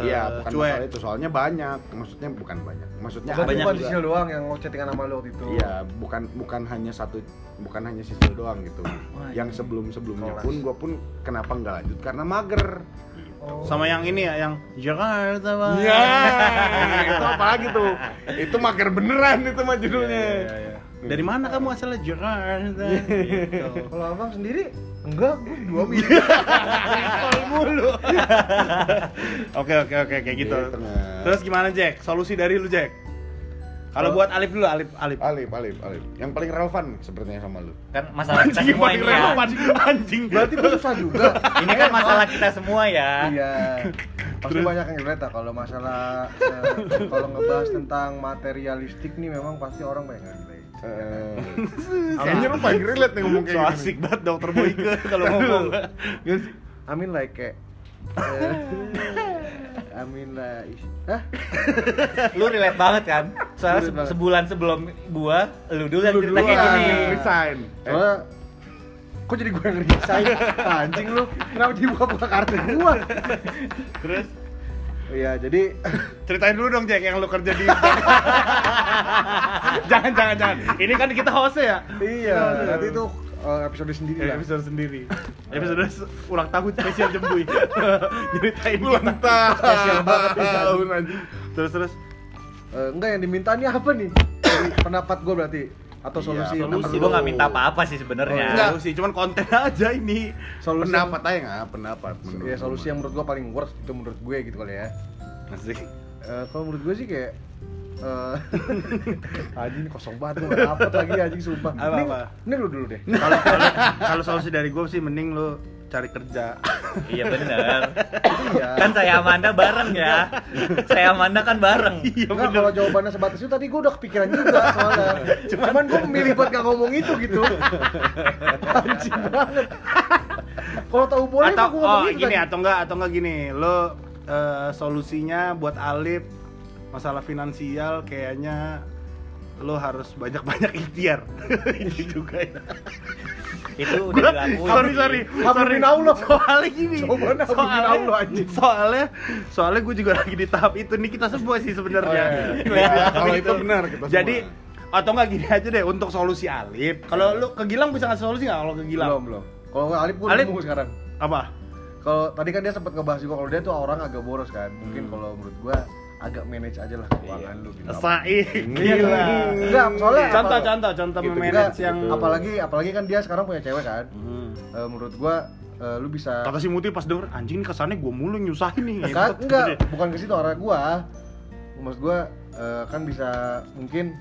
Speaker 1: eh,
Speaker 2: iya bukan
Speaker 1: cuek.
Speaker 2: masalah itu soalnya banyak maksudnya bukan banyak maksudnya
Speaker 4: Berarti
Speaker 1: banyak
Speaker 4: bukan
Speaker 1: juga.
Speaker 4: Sisil doang yang mau chattingan sama lu waktu itu.
Speaker 2: Iya, bukan bukan hanya satu bukan hanya sisil doang gitu.
Speaker 1: iya.
Speaker 2: Yang sebelum-sebelumnya
Speaker 4: Kelas.
Speaker 2: pun gue pun kenapa nggak lanjut karena mager.
Speaker 4: Oh.
Speaker 1: Sama yang ini ya, yang Jakarta Bang.
Speaker 2: Iya, itu apa lagi tuh? Itu mager beneran itu mah judulnya.
Speaker 1: Iya, iya, iya. Dari mana kamu asalnya Jakarta? gitu.
Speaker 4: Kalau abang sendiri, enggak, gue dua minggu.
Speaker 1: <laughs> Oke oke oke kayak gitu.
Speaker 2: Gitu, nah.
Speaker 1: Terus gimana Jack? Solusi dari lu Jack? Kalau buat Alif dulu Alif Alif.
Speaker 2: Alif, Alif, Alif. Yang paling relevan sepertinya sama lu.
Speaker 3: Kan masalah kita semua ini ya.
Speaker 1: anjing.
Speaker 4: Berarti gue susah juga.
Speaker 3: Ini kan masalah kita semua ya.
Speaker 4: Iya. Pasti banyak yang relate lah kalau masalah eh, kalau ngebahas tentang materialistik nih memang pasti orang banyak yang relate.
Speaker 2: Eh, Kayaknya lu paling relate nih ngomong
Speaker 1: So
Speaker 2: kayak gini.
Speaker 1: asik banget dokter Boyke kalau ngomong.
Speaker 4: Gak sih? I mean like kayak eh, I mean like eh, Hah?
Speaker 3: Lu relate banget kan? Soalnya
Speaker 4: Relate
Speaker 3: se-
Speaker 4: banget.
Speaker 3: sebulan sebelum gua, lu dulu yang
Speaker 2: Lu
Speaker 3: cerita kayak
Speaker 2: duluan
Speaker 3: gini.
Speaker 2: yang resign. Eh,
Speaker 4: Soalnya Kok jadi gue yang resign? Anjing lu, kenapa dibuka-buka kartu gua?
Speaker 1: Terus
Speaker 4: Iya, jadi
Speaker 1: ceritain dulu dong Jack yang lu kerja di Jangan jangan jangan. Ini kan kita host ya.
Speaker 4: iya, nanti itu eh, episode sendiri
Speaker 1: Ya,
Speaker 4: lah.
Speaker 1: episode sendiri. episode se- ulang tahun spesial jembui. Ceritain
Speaker 2: Ulang
Speaker 1: kita.
Speaker 4: Spesial banget nih,
Speaker 2: tahun anjing.
Speaker 1: Terus terus
Speaker 4: Eh, enggak yang diminta nih apa nih? Dari pendapat gue berarti atau
Speaker 2: Iya,
Speaker 4: solusi yang
Speaker 2: solusi.
Speaker 4: perlu?
Speaker 3: Gua nggak minta apa-apa sih
Speaker 4: Oh,
Speaker 3: sebenarnya.
Speaker 4: enggak.
Speaker 1: solusi cuman konten <laughs> aja ini.
Speaker 4: solusi yang-
Speaker 2: Pendapat aja nggak? Pendapat. menurut
Speaker 1: Iya,
Speaker 4: ya
Speaker 2: lu
Speaker 4: solusi
Speaker 2: mah.
Speaker 4: yang menurut gue paling worth itu menurut gue gitu kali ya.
Speaker 1: Asik.
Speaker 4: Eh, kalau menurut gue sih kayak eh <laughs> anjing ini kosong banget gue nggak dapet lagi anjing sumpah
Speaker 1: Apa,
Speaker 4: Mending-
Speaker 1: apa?
Speaker 4: mending lu dulu
Speaker 1: <laughs>
Speaker 4: deh
Speaker 1: Kalau kalau- kalau solusi dari gue sih mending lu cari kerja.
Speaker 3: Iya bener.
Speaker 4: iya
Speaker 3: Kan saya sama Anda bareng ya. Saya sama Anda kan bareng.
Speaker 4: Enggak, kalau jawabannya sebatas itu tadi gue udah kepikiran juga
Speaker 1: <laughs>
Speaker 4: soalnya Cuman, gue memilih buat gak ngomong itu gitu Anjing banget Kalau tahu
Speaker 1: atau
Speaker 4: boleh mah gue
Speaker 1: oh
Speaker 4: ngomong
Speaker 2: gitu
Speaker 4: itu
Speaker 1: gini
Speaker 4: tadi.
Speaker 1: atau enggak atau enggak gini lo eh, solusinya buat Alif masalah finansial kayaknya lo harus banyak banyak <laughs> ikhtiar ini juga ya
Speaker 3: Itu
Speaker 1: Gua-
Speaker 3: udah dilakuin.
Speaker 1: sorry sorry sorry
Speaker 4: Habisin Allah.
Speaker 1: soalnya gini
Speaker 4: Coba dah, habisin
Speaker 1: soalnya
Speaker 4: Allah, anjing.
Speaker 1: soalnya soalnya gue juga lagi di tahap itu nih kita semua sih sebenarnya
Speaker 2: Oh, iya.
Speaker 1: Lagi di tahap
Speaker 2: Kalau itu benar, kita semua.
Speaker 1: jadi atau enggak gini aja deh untuk solusi Alif kalau lo ke Gilang bisa ngasih solusi nggak kalau ke Gilang
Speaker 4: Belum, belum Kalau nggak, Alif gue
Speaker 1: Alif.
Speaker 4: nemu sekarang
Speaker 1: apa
Speaker 4: Kalau tadi kan dia sempat ngebahas juga kalau dia tuh orang agak boros kan Mungkin
Speaker 1: Hmm.
Speaker 4: kalau menurut gue agak manage aja lah keuangan
Speaker 1: Iya.
Speaker 4: lu gitu
Speaker 1: Sa'i
Speaker 2: Gila.
Speaker 1: kan?
Speaker 4: Enggak, soalnya apa
Speaker 1: contoh
Speaker 4: tuh?
Speaker 1: contoh contoh
Speaker 2: Gitu,
Speaker 1: manage
Speaker 4: Enggak,
Speaker 1: yang
Speaker 4: apalagi apalagi kan dia sekarang punya cewek kan
Speaker 1: Hmm.
Speaker 4: Eh, menurut gua eh, lu bisa
Speaker 1: kata si Muti pas denger anjing ini kesannya gue mulu nyusahin nih
Speaker 4: Kan,
Speaker 1: Gitu.
Speaker 4: enggak bukan ke situ arah gua maksud gua eh, kan bisa mungkin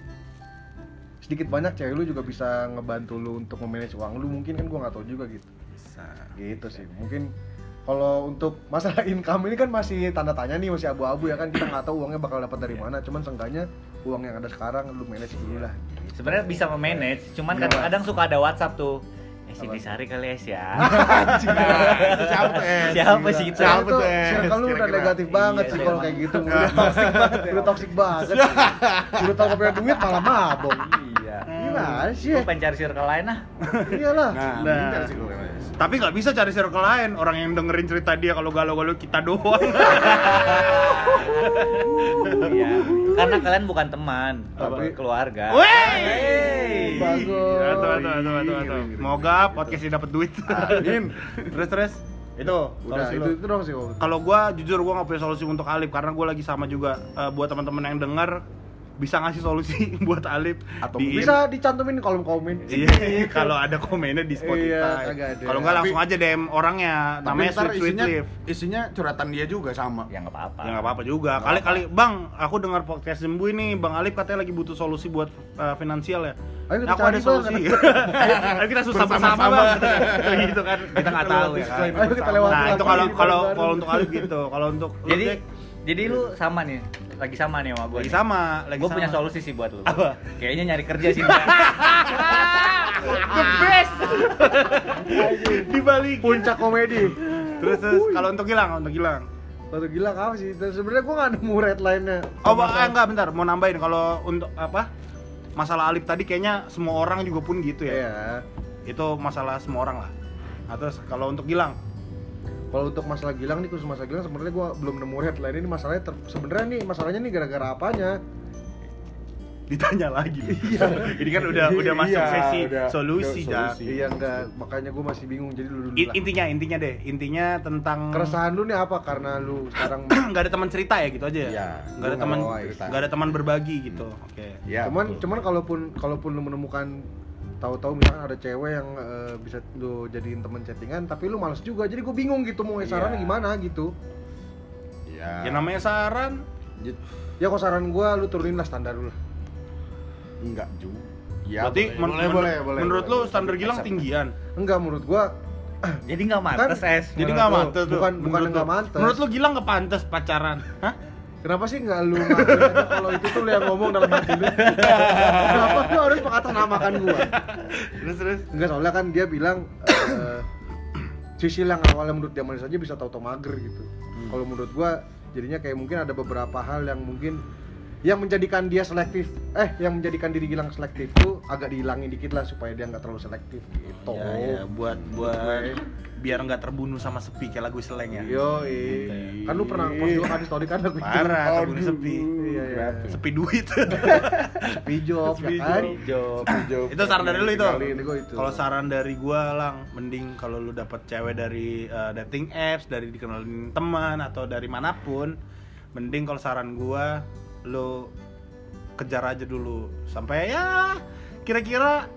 Speaker 4: sedikit banyak cewek lu juga bisa ngebantu lu untuk memanage uang lu mungkin kan gua nggak tahu juga gitu gitu sih mungkin kalau untuk masalah <laughs> income ini kan masih tanda tanya nih masih abu-abu ya kan kita nggak tahu uangnya bakal dapat dari
Speaker 1: Iya.
Speaker 4: mana cuman seenggaknya uang yang ada sekarang lu manage dulu lah
Speaker 3: Sebenarnya bisa memanage, cuman
Speaker 1: Iya.
Speaker 3: kadang-kadang suka ada WhatsApp tuh. Es ini sari Eh, kali es
Speaker 1: <laughs>
Speaker 3: ya.
Speaker 2: Siapa tuh, eh?
Speaker 3: Siapa sih itu?
Speaker 2: Siapa
Speaker 4: Itu
Speaker 2: tuh, eh?
Speaker 4: circle lu udah
Speaker 2: Kira-kira.
Speaker 4: negatif banget
Speaker 3: Iya,
Speaker 4: sih kalau
Speaker 3: emang.
Speaker 4: kayak gitu. Udah toxic banget. Udah toxic banget. <laughs> Udah tau gak punya duit malah mabok.
Speaker 3: Iya.
Speaker 4: Gimana sih?
Speaker 3: Gue pengen cari circle lain ah.
Speaker 4: Iyalah.
Speaker 2: Nah,
Speaker 1: Nah.
Speaker 2: mending dari situ, Mas.
Speaker 1: Tapi nggak bisa cari circle lain. Orang yang dengerin cerita dia kalau galau-galau kita <laughs> doang.
Speaker 3: Iya. Karena kalian bukan teman,
Speaker 4: Tapi-
Speaker 3: tapi keluarga.
Speaker 1: Wey!
Speaker 4: Bagus.
Speaker 1: Atuh, atuh, atuh, atuh, atuh. Moga podcast ini dapat duit. <laughs>
Speaker 2: Amin.
Speaker 1: terus terus itu
Speaker 4: udah
Speaker 1: solusi
Speaker 4: itu,
Speaker 1: lu. Iya.
Speaker 4: itu dong sih Om.
Speaker 1: Kalau gua jujur gua nggak punya solusi untuk Alip karena gua lagi sama juga Eh, buat teman-teman yang dengar bisa ngasih solusi <laughs> buat Alip
Speaker 2: Atau
Speaker 1: di-
Speaker 4: bisa dicantumin di kolom komen
Speaker 1: Iya, kalau ada komennya di Spotify.
Speaker 4: Iya, kagak ada.
Speaker 1: kalau nggak
Speaker 2: Tapi-
Speaker 1: langsung aja DM orangnya,
Speaker 2: Tapi
Speaker 1: namanya
Speaker 2: ntar
Speaker 1: Sweet Sweet
Speaker 2: isinya,
Speaker 1: Leaf.
Speaker 2: isinya curhatan dia juga sama.
Speaker 3: Ya nggak apa-apa.
Speaker 1: Ya nggak apa-apa juga. Kali-kali, Bang, aku dengar podcast Zembu ini, Bang Alip katanya lagi butuh solusi buat eh, finansial ya.
Speaker 4: Ayo kita
Speaker 1: aku
Speaker 4: cari,
Speaker 1: ada
Speaker 4: Bang.
Speaker 1: <laughs> solusi. Ayo kita susah bersama, Bang. gitu kan. Kita nggak tahu ya kan.
Speaker 4: ayo kita lewat
Speaker 1: Nah, itu kalau kalau kalau untuk Alip gitu. Kalau untuk lu,
Speaker 3: Jadi
Speaker 1: Jack,
Speaker 3: jadi lu sama nih, lagi sama nih sama gue.
Speaker 1: lagi sama, lagi
Speaker 3: Gue
Speaker 1: sama.
Speaker 3: punya solusi sih buat lu.
Speaker 1: Apa?
Speaker 3: Kayaknya nyari kerja
Speaker 1: <laughs>
Speaker 3: sih. Mbak.
Speaker 1: The best. Dibalik.
Speaker 4: puncak komedi
Speaker 1: Terus terus kalau untuk hilang, untuk hilang.
Speaker 4: Waktu gila kamu sih, Dan sebenarnya gue gak nemu red line-nya
Speaker 1: Oh, ba- eh, enggak bentar, mau nambahin kalau untuk apa? Masalah Alip tadi kayaknya semua orang juga pun gitu ya.
Speaker 4: Iya
Speaker 1: Itu masalah semua orang lah. Atau se- kalau untuk Gilang, <laughs>
Speaker 4: Kalau untuk masalah Gilang nih, khusus masalah Gilang sebenarnya gue belum nemu red line ini masalahnya ter- sebenarnya nih, masalahnya nih gara-gara apanya
Speaker 1: ditanya lagi. <laughs> Ini kan udah udah masuk
Speaker 2: Iya,
Speaker 1: sesi
Speaker 2: udah-
Speaker 1: solusi ya.
Speaker 2: udah solusi.
Speaker 4: Iya enggak, makanya gue masih bingung, jadi lu dulu
Speaker 1: I-
Speaker 4: lah
Speaker 1: Intinya intinya deh, intinya tentang
Speaker 4: Keresahan lu nih apa? Karena lu sekarang
Speaker 1: <clears throat> nggak ada teman cerita ya gitu aja ya.
Speaker 2: Iya,
Speaker 1: Nggak ada
Speaker 2: gua
Speaker 1: teman
Speaker 2: nggak bawa cerita.
Speaker 1: nggak ada teman berbagi gitu. Oke.
Speaker 2: <coughs> Ya,
Speaker 4: <coughs> cuman
Speaker 2: betul.
Speaker 4: cuman kalaupun kalaupun lu menemukan tahu-tahu misalkan ada cewek yang eh, bisa lu jadiin temen chattingan tapi lu males juga jadi gue bingung gitu mau
Speaker 2: Iya.
Speaker 4: saran gimana gitu
Speaker 2: ya.
Speaker 1: Ya namanya saran
Speaker 2: J-
Speaker 4: ya kok saran gue lu turunin lah standar lu lah
Speaker 2: enggak juga. Ya,
Speaker 1: berarti men-
Speaker 2: boleh, boleh,
Speaker 1: men-
Speaker 2: boleh, boleh,
Speaker 1: menurut
Speaker 2: boleh,
Speaker 1: lu
Speaker 2: boleh.
Speaker 1: standar Gilang
Speaker 2: Accept.
Speaker 1: tinggian.
Speaker 4: enggak menurut gue
Speaker 3: jadi nggak
Speaker 4: Kan,
Speaker 3: mantes es.
Speaker 1: Jadi
Speaker 4: Menurut
Speaker 1: nggak
Speaker 4: lu,
Speaker 1: mantes lu.
Speaker 4: bukan- bukan
Speaker 1: Menurut
Speaker 4: nggak
Speaker 1: lu.
Speaker 4: mantes.
Speaker 1: Menurut lu Gilang nggak pantas pacaran? Hah?
Speaker 4: Kenapa sih nggak lu ngakuin aja kalau itu tuh lu yang ngomong dalam hati
Speaker 2: <laughs>
Speaker 4: lu? Kenapa lu harus mengatasnamakan gua?
Speaker 1: Terus terus.
Speaker 4: Enggak soalnya kan dia bilang eh, <coughs> Sisil yang awalnya menurut dia manis aja bisa tahu-tahu mager gitu. Kalau menurut gua jadinya kayak mungkin ada beberapa hal yang mungkin yang menjadikan dia selektif eh yang menjadikan diri Gilang selektif tuh agak dihilangin dikit lah supaya dia nggak terlalu selektif gitu.
Speaker 1: Ya, ya, buat buat biar nggak terbunuh sama sepi kayak lagu seleng ya.
Speaker 4: Yoi. Kan lu pernah post juga kan di story kan aku
Speaker 1: Parah terbunuh
Speaker 2: Aduh,
Speaker 1: sepi.
Speaker 4: Iya, iya.
Speaker 2: gratis.
Speaker 1: Sepi duit.
Speaker 4: Pijop ya
Speaker 1: Pijop.
Speaker 4: kan.
Speaker 3: Hijau.
Speaker 2: Jawab.
Speaker 1: itu saran dari lu itu.
Speaker 4: Kali ini gua itu.
Speaker 1: Kalau saran dari gua lang mending kalau lu dapet cewek dari eh, dating apps, dari dikenalin teman atau dari manapun, mending kalau saran gua lu kejar aja dulu sampai ya kira-kira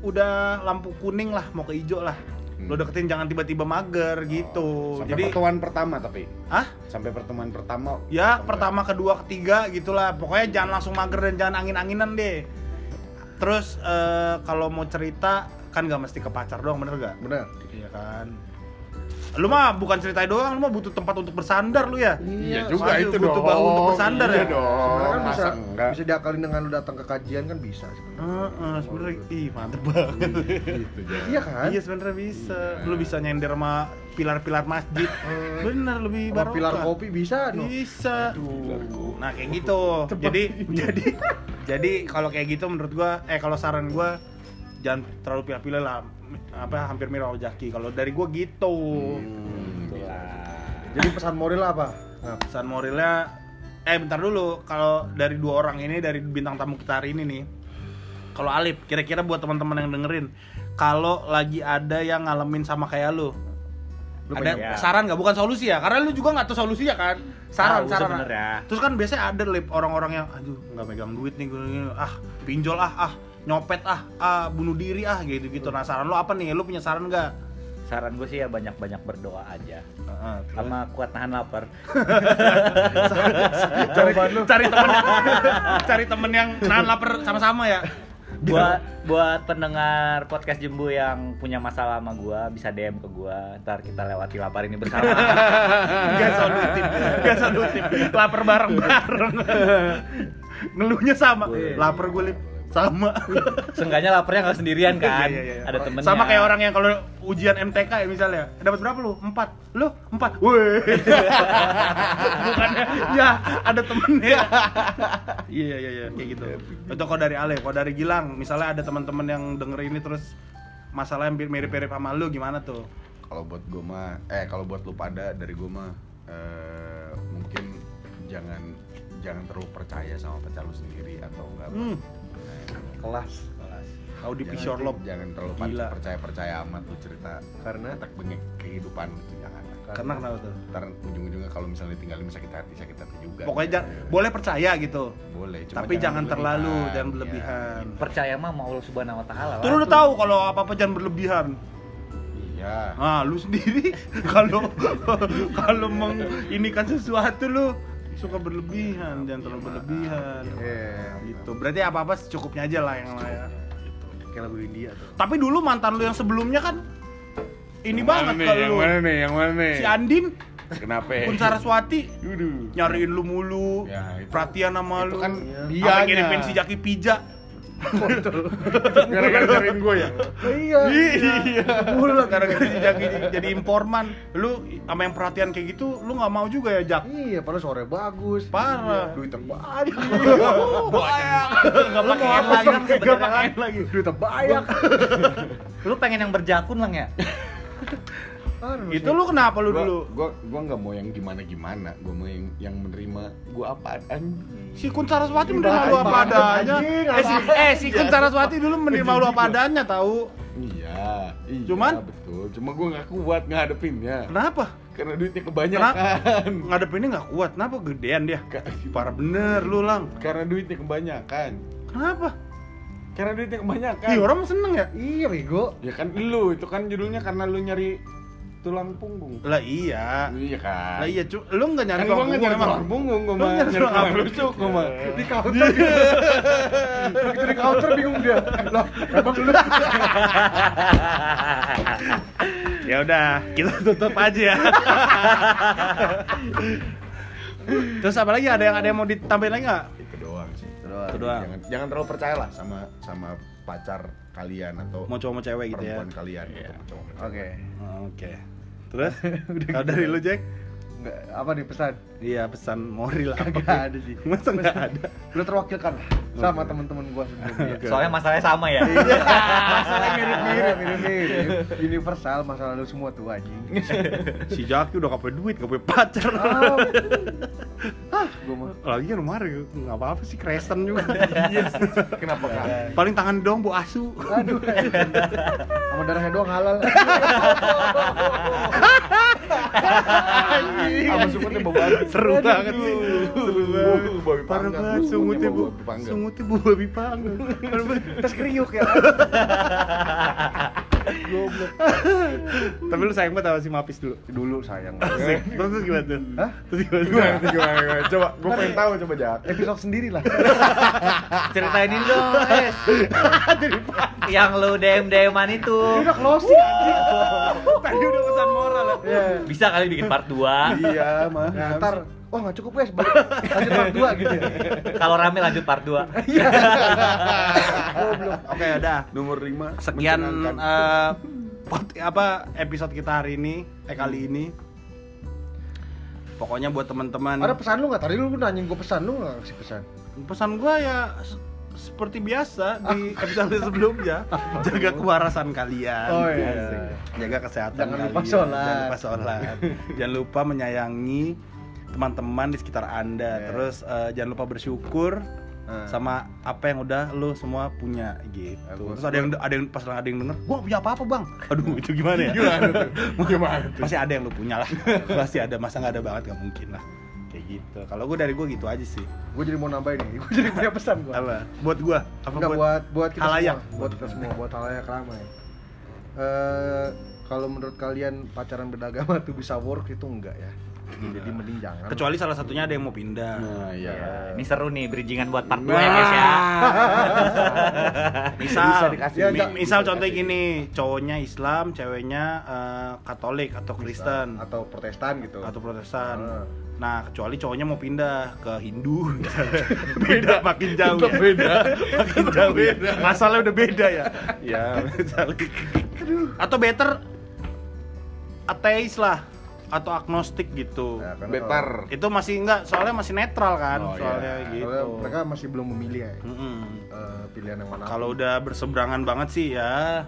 Speaker 1: udah lampu kuning lah mau ke hijau lah. Lu
Speaker 2: Hmm. Oh.
Speaker 1: deketin jangan tiba-tiba mager gitu.
Speaker 2: Sampai
Speaker 1: Jadi
Speaker 2: pertemuan pertama tapi.
Speaker 1: Hah?
Speaker 2: Sampai pertemuan pertama.
Speaker 1: Ya,
Speaker 2: Sampai-
Speaker 1: pertama, kedua, ketiga gitulah. Pokoknya jangan langsung mager dan jangan angin-anginan deh. Terus eh, kalau mau cerita kan nggak mesti ke pacar doang, bener gak?
Speaker 4: Benar.
Speaker 1: Iya kan. Lu mah bukan ceritain doang, lu mah butuh tempat untuk bersandar lu ya.
Speaker 4: Iya,
Speaker 2: Iya juga
Speaker 1: soalnya
Speaker 2: itu
Speaker 1: butuh
Speaker 2: dong.
Speaker 1: bahu untuk bersandar
Speaker 2: iya
Speaker 1: ya.
Speaker 2: dong.
Speaker 4: Sebenarnya kan bisa
Speaker 2: Masa enggak?
Speaker 4: bisa diakalin dengan lu datang ke kajian kan bisa sebenarnya.
Speaker 1: Heeh, sebenarnya ih mantep banget.
Speaker 2: Gitu ya.
Speaker 4: Iya kan?
Speaker 1: Iya sebenarnya bisa.
Speaker 2: Iya.
Speaker 1: Lu bisa nyender sama pilar-pilar masjid.
Speaker 4: Eh,
Speaker 1: Bener lebih
Speaker 4: Sama
Speaker 1: barokah.
Speaker 4: pilar kopi bisa no.
Speaker 1: Iya. Bisa.
Speaker 2: Pilar kopi.
Speaker 1: Nah kayak gitu. Jadi jadi jadi kalau kayak gitu menurut gua eh kalau saran gua jangan terlalu pilih-pilih lah apa hampir mirip sama Jaki. Kalau dari gua gitu.
Speaker 2: Hmm,
Speaker 4: Jadi pesan moral apa? Nah,
Speaker 1: Pesan moralnya eh bentar dulu kalau dari dua orang ini dari bintang tamu kita hari ini nih kalau Alip kira-kira buat teman-teman yang dengerin kalau lagi ada yang ngalamin sama kayak lu
Speaker 4: Lu
Speaker 1: ada
Speaker 3: punya-
Speaker 1: saran nggak bukan solusi ya karena lu juga nggak tahu solusinya kan saran
Speaker 3: Tahu
Speaker 1: saran
Speaker 3: sebenarnya.
Speaker 1: terus kan biasanya ada lip orang-orang yang aduh nggak megang duit nih gue ah pinjol ah ah nyopet ah ah bunuh diri ah gitu gitu nah saran lu apa nih lu punya saran nggak
Speaker 3: Saran gue sih ya banyak-banyak berdoa aja.
Speaker 1: Heeh, terus.
Speaker 3: Sama kuat nahan lapar.
Speaker 1: cari cari temen cari temen yang nahan lapar sama-sama ya
Speaker 3: buat buat pendengar podcast Jembu yang punya masalah sama gua bisa DM ke gua ntar kita lewati lapar ini bersama
Speaker 1: <laughs> gak solutif gak solutif lapar bareng-bareng ngeluhnya sama
Speaker 3: Boleh.
Speaker 1: lapar gue lip sama
Speaker 3: seenggaknya laparnya nggak sendirian kan
Speaker 1: Iya, iya, iya.
Speaker 3: ada temennya
Speaker 1: sama kayak orang yang kalau ujian MTK ya misalnya dapat berapa lu empat lu empat <laughs> weh bukannya ya ada temennya iya iya iya kayak gitu itu kalau dari Ale kalau dari Gilang misalnya ada teman-teman yang denger ini terus masalah yang mirip-mirip sama lu gimana tuh?
Speaker 2: kalau buat gue mah eh kalau buat lu pada dari gue mah eh, mungkin jangan jangan terlalu percaya sama pacar lu sendiri atau enggak
Speaker 1: Hmm,
Speaker 4: kelas
Speaker 1: kau di
Speaker 2: Jangan-
Speaker 1: pisor lob.
Speaker 2: jangan terlalu
Speaker 1: Gila.
Speaker 2: percaya percaya amat lu cerita
Speaker 4: karena
Speaker 2: tak bengek kehidupan lu tuh jangan lah.
Speaker 1: Karena kenapa tuh?
Speaker 2: ntar ujung-ujungnya kalau misalnya ditinggalin sakit hati sakit hati juga
Speaker 1: Pokoknya jangan, boleh percaya gitu.
Speaker 2: boleh cuma
Speaker 1: tapi jangan terlalu
Speaker 2: berlebihan,
Speaker 1: jangan
Speaker 2: ya.
Speaker 1: berlebihan.
Speaker 3: Percaya mah sama Allah Subhanahu wa taala.
Speaker 1: Tuh lu udah tahu kalau apa-apa jangan berlebihan.
Speaker 2: iya
Speaker 1: Ah, lu sendiri <laughs> kalau kalau meng ini kan sesuatu lu suka berlebihan, jangan terlalu berlebihan.
Speaker 2: Iya,
Speaker 4: eh
Speaker 1: Gitu. Berarti apa-apa secukupnya aja lah yang layak.
Speaker 4: kayak lagu India tuh
Speaker 1: Tapi dulu mantan lu yang sebelumnya kan ini banget
Speaker 2: nih,
Speaker 1: kalau
Speaker 2: yang
Speaker 1: lu.
Speaker 2: mana nih yang mana nih
Speaker 1: Si Andin,
Speaker 2: kenapa
Speaker 1: Punsaraswati
Speaker 2: Yuduh.
Speaker 1: nyariin lu mulu,
Speaker 2: Ya, itu-
Speaker 1: perhatian sama lu.
Speaker 2: itu kan
Speaker 1: dia
Speaker 2: dianya.
Speaker 1: ngirimin si Jaki Pija.
Speaker 2: gara-gara cariin gue ya
Speaker 1: Oh,
Speaker 4: iya
Speaker 2: Iya.
Speaker 1: Mulu lah gara-gara si Jaki jadi informan. Lu sama yang perhatian kayak gitu, lu nggak mau juga ya, Jak?
Speaker 4: iya padahal sore bagus Iya.
Speaker 1: Parah.
Speaker 4: duitnya banyak
Speaker 1: Banyak. Enggak pakai airliner
Speaker 4: Gak
Speaker 1: sebenarnya.
Speaker 4: pakai lagi duitnya banyak
Speaker 3: Lu pengen yang berjakun lang ya?
Speaker 4: Aduh,
Speaker 1: Itu lu kenapa lu
Speaker 2: Gua-
Speaker 1: dulu?
Speaker 2: gua gua nggak mau yang gimana gimana gua mau yang yang menerima gua apaan
Speaker 1: Si Kun Saraswati menerima lu apa
Speaker 4: Bahan-bahan
Speaker 1: adanya.
Speaker 4: anjing,
Speaker 1: Eh si, eh, si Kun Saraswati dulu menerima lu apa adanya tahu.
Speaker 2: iya iya
Speaker 1: Cuman?
Speaker 2: betul cuma gua nggak kuat ngadepinnya
Speaker 1: Kenapa?
Speaker 2: karena duitnya kebanyakan
Speaker 1: Ngadepinnya nggak kuat. Kenapa gedean dia?
Speaker 2: Ka-
Speaker 1: Parah bener lu lang.
Speaker 2: karena duitnya kebanyakan
Speaker 1: Kenapa?
Speaker 2: karena duitnya kebanyakan
Speaker 1: Ih orang seneng ya?
Speaker 4: iya bego
Speaker 2: ya kan lu itu kan judulnya karena lu nyari tulang punggung
Speaker 1: Lah iya.
Speaker 2: iya kan
Speaker 1: Lah iya cu, lu nggak nyari
Speaker 2: kan
Speaker 1: bawang
Speaker 2: gua
Speaker 1: punggung
Speaker 2: nggak nyari
Speaker 1: emang?
Speaker 2: tulang punggung gua
Speaker 1: Lu
Speaker 2: mah
Speaker 1: nyari
Speaker 2: nyari
Speaker 1: tulang Iya.
Speaker 2: tulang
Speaker 1: apa?
Speaker 2: rusuk gua mah
Speaker 4: di counter
Speaker 1: gitu.
Speaker 4: begitu di counter bingung dia lah emang lu
Speaker 1: Ya udah, kita tutup aja ya. Terus apa lagi ada yang ada yang mau ditambahin lagi nggak?
Speaker 2: itu doang sih
Speaker 1: Itu doang.
Speaker 2: Iya, jangan jangan terlalu percaya lah sama sama pacar kalian atau
Speaker 1: Mau cowok mau cewek gitu ya. Oh,
Speaker 2: perempuan kalian
Speaker 3: Iya.
Speaker 2: atau cowok-
Speaker 4: oke
Speaker 1: Oke. Terus kalau dari lu Jack?
Speaker 4: Nggak, apa nih pesan
Speaker 1: Iya pesan Mori lah.
Speaker 4: Kagak ada sih.
Speaker 1: Masa nggak ada?
Speaker 4: lu terwakilkan lah sama teman-teman
Speaker 1: <laughs>
Speaker 4: gua sebelumnya
Speaker 3: Soalnya masalahnya sama ya.
Speaker 1: Iya.
Speaker 4: masalah mirip-mirip mirip-mirip universal masalah lu semua tuh anjing
Speaker 1: Si Jaki udah kape duit, kape pacar.
Speaker 4: <laughs> Ah. ah gua mah
Speaker 1: Lagi kan kemarin nggak apa-apa sih kresen juga.
Speaker 2: kenapa kan
Speaker 1: Paling tangan dong bu asu.
Speaker 4: aduh sama darahnya doang halal
Speaker 2: sama sungutnya bau babi
Speaker 1: <laughs> Iya. <laughs> Seru
Speaker 4: Aduh.
Speaker 1: banget sih. Seru banget.
Speaker 2: Uh, babi
Speaker 1: Parah
Speaker 2: panggang.
Speaker 1: banget sungutnya bu.
Speaker 2: Bau babi panggang.
Speaker 1: Sungutnya bu babi panggang. Parah banget.
Speaker 4: terus kriuk ya goblok
Speaker 1: Tapi lu sayang banget sama si Mapis dulu.
Speaker 4: dulu sayang
Speaker 1: Asik. Terus terus gimana tuh?
Speaker 4: Hah?
Speaker 1: Terus gimana? tuh?
Speaker 2: <laughs> gimana gimana gimana coba gue pengen tahu coba jak
Speaker 4: episode sendiri lah
Speaker 3: Ceritain ini dong,
Speaker 1: <laughs>
Speaker 3: Es. yang lu DM-DM-an itu.
Speaker 4: ini udah closing anjing
Speaker 1: <laughs> Tadi udah pesan moral ya.
Speaker 4: ya
Speaker 3: Bisa kali bikin part 2.
Speaker 2: iya mah
Speaker 4: nah, ntar wah nggak cukup guys balik lanjut part dua gitu ya
Speaker 3: Kalau rame lanjut part 2.
Speaker 4: goblok
Speaker 1: Oke udah.
Speaker 2: nomor lima
Speaker 1: Sekian
Speaker 2: menyenangkan.
Speaker 1: eh, pot, apa episode kita hari ini, eh kali ini. Pokoknya buat teman-teman.
Speaker 4: ada pesan lu nggak tadi lu nanya gue pesan lu nggak kasih pesan
Speaker 1: pesan gua ya se- seperti biasa di episode sebelumnya jaga kewarasan kalian
Speaker 4: Oh, iya.
Speaker 1: Asik. jaga kesehatan
Speaker 4: Jangan lupa
Speaker 1: kalian.
Speaker 4: sholat.
Speaker 1: jangan lupa sholat jangan lupa menyayangi teman-teman di sekitar anda
Speaker 4: Iya.
Speaker 1: terus eh, jangan lupa bersyukur
Speaker 4: Hmm.
Speaker 1: sama apa yang udah lu semua punya gitu
Speaker 4: Aku-
Speaker 1: terus ada yang ada yang pas ada yang denger gua nggak punya apa-apa bang aduh <laughs> itu gimana ya
Speaker 2: gimana tuh gimana tuh
Speaker 1: pasti ada yang lu punya lah <laughs> pasti ada masa nggak ada banget nggak mungkin lah kayak gitu kalau gua dari gua gitu aja sih
Speaker 4: gue jadi mau nambahin nih gue jadi punya pesan gue
Speaker 1: apa buat gua apa
Speaker 4: Enggak buat buat kita
Speaker 1: halayak.
Speaker 4: semua, buat kita semua, buat halayak ramai. Eh kalau menurut kalian pacaran beragama tuh bisa work itu enggak ya? Jadi mending jangan.
Speaker 1: kecuali salah satunya ada yang mau pindah
Speaker 2: nah iya
Speaker 1: eh,
Speaker 3: Ini seru nih bridgingan buat part 2 ya, guys
Speaker 2: <laughs>
Speaker 3: ya.
Speaker 1: Nah. misal
Speaker 2: dikasih
Speaker 1: ya,
Speaker 2: link,
Speaker 1: mi-
Speaker 2: bisa
Speaker 1: misal contoh
Speaker 2: dikasih.
Speaker 1: gini cowoknya Islam ceweknya eh, Katolik atau Kristen
Speaker 4: atau Protestan gitu.
Speaker 1: atau Protestan
Speaker 4: Ah.
Speaker 1: nah kecuali cowoknya mau pindah ke Hindu misalnya. <laughs> beda makin jauh ya.
Speaker 2: beda
Speaker 1: <laughs> makin jauh ya. masalahnya udah beda ya
Speaker 2: ya
Speaker 1: misalnya. atau better ateis lah atau agnostik gitu
Speaker 4: Ya, karena
Speaker 2: better
Speaker 1: itu masih enggak soalnya masih netral kan
Speaker 2: Nah. Oh, iya.
Speaker 1: soalnya
Speaker 4: kalau-
Speaker 1: gitu
Speaker 4: kalau mereka masih belum memilih ya.
Speaker 1: Mm-mm.
Speaker 4: eh, pilihan yang mana.
Speaker 1: Kalau udah berseberangan banget sih ya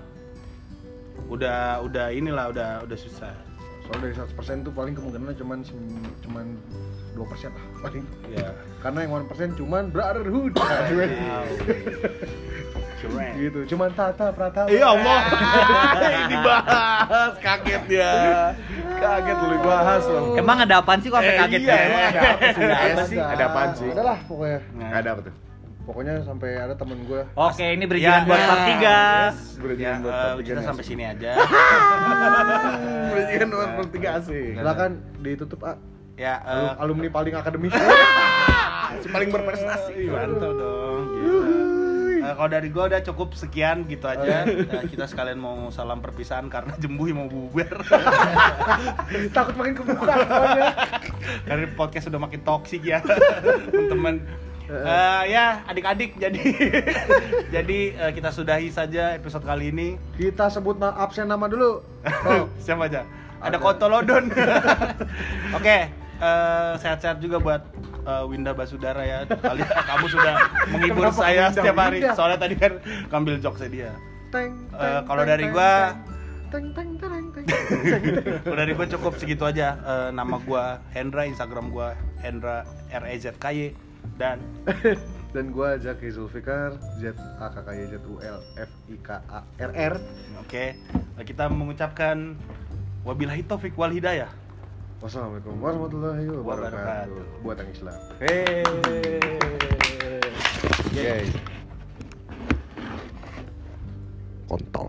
Speaker 1: udah udah inilah udah udah susah
Speaker 4: soalnya dari 100% tuh paling kemungkinan cuman sem- cuman 2% lah paling
Speaker 1: ya
Speaker 4: karena yang 1% cuman brotherhood
Speaker 1: Keren.
Speaker 4: gitu <laughs> cuman tata pratama
Speaker 1: Iya <laughs> Allah.
Speaker 2: dibahas kaget dia kaget lu dibahas loh
Speaker 3: Emang ada apaan sih kok
Speaker 2: Eh,
Speaker 3: sampai kaget
Speaker 2: iya,
Speaker 3: ya?
Speaker 2: emang ada apa sih?
Speaker 3: Ada apa
Speaker 2: Ada.
Speaker 3: sih?
Speaker 2: Ada apaan sih?
Speaker 4: ada lah pokoknya
Speaker 2: nggak ada apa tuh
Speaker 4: pokoknya sampai ada temen gue
Speaker 3: Oke, ini berikan
Speaker 1: Ya,
Speaker 3: buat part tiga.
Speaker 1: Ya,
Speaker 2: berjalan buat
Speaker 1: eh,
Speaker 2: part tiga
Speaker 1: kita
Speaker 2: nih,
Speaker 1: sampai
Speaker 2: asik.
Speaker 1: sini aja.
Speaker 2: berjalan buat part tiga asik
Speaker 4: Gila kan ditutup ah,
Speaker 1: ya, eh,
Speaker 4: alum- alumni paling
Speaker 1: <laughs>
Speaker 4: akademis
Speaker 2: si paling berprestasi
Speaker 1: Ih, mantap dong. gila. Eh, kalau dari gua udah cukup sekian gitu <laughs> aja. Eh, kita sekalian mau salam perpisahan karena Jembuhi mau bubar.
Speaker 4: takut makin kebuka soalnya.
Speaker 1: Karena podcast udah makin toksik ya, <laughs> teman. ya adik-adik jadi <laughs> jadi eh, kita sudahi saja episode kali ini.
Speaker 4: kita sebut na- absen nama
Speaker 1: <laughs>
Speaker 4: dulu oh,
Speaker 1: Siapa aja? Ada,
Speaker 4: Ada. <laughs>
Speaker 1: Kontolodon. <laughs> Oke, eh, sehat-sehat juga buat eh, Winda Basudara ya. Kali kamu sudah menghibur
Speaker 4: Kenapa
Speaker 1: saya
Speaker 4: Winda,
Speaker 1: setiap hari.
Speaker 4: Winda?
Speaker 1: Soalnya tadi kan ngambil jokesnya dia.
Speaker 4: teng,
Speaker 1: Eh,
Speaker 4: teng,
Speaker 1: kalau
Speaker 4: teng,
Speaker 1: dari
Speaker 4: teng,
Speaker 1: gua-
Speaker 4: teng, teng, teng, teng, <laughs> teng.
Speaker 1: Kalau dari gue cukup segitu aja. Eh, nama gue Hendra, Instagram gue Hendra R E Z K Y dan
Speaker 4: dan gua Zaki Zulfikar Z A K K Y Z U L F I K A R R
Speaker 1: oke kita mengucapkan wabillahi taufik wal hidayah.
Speaker 4: wassalamualaikum warahmatullahi wabarakatuh
Speaker 1: Wabarakatuh.
Speaker 4: buat yang Islam
Speaker 2: Yeay. kontol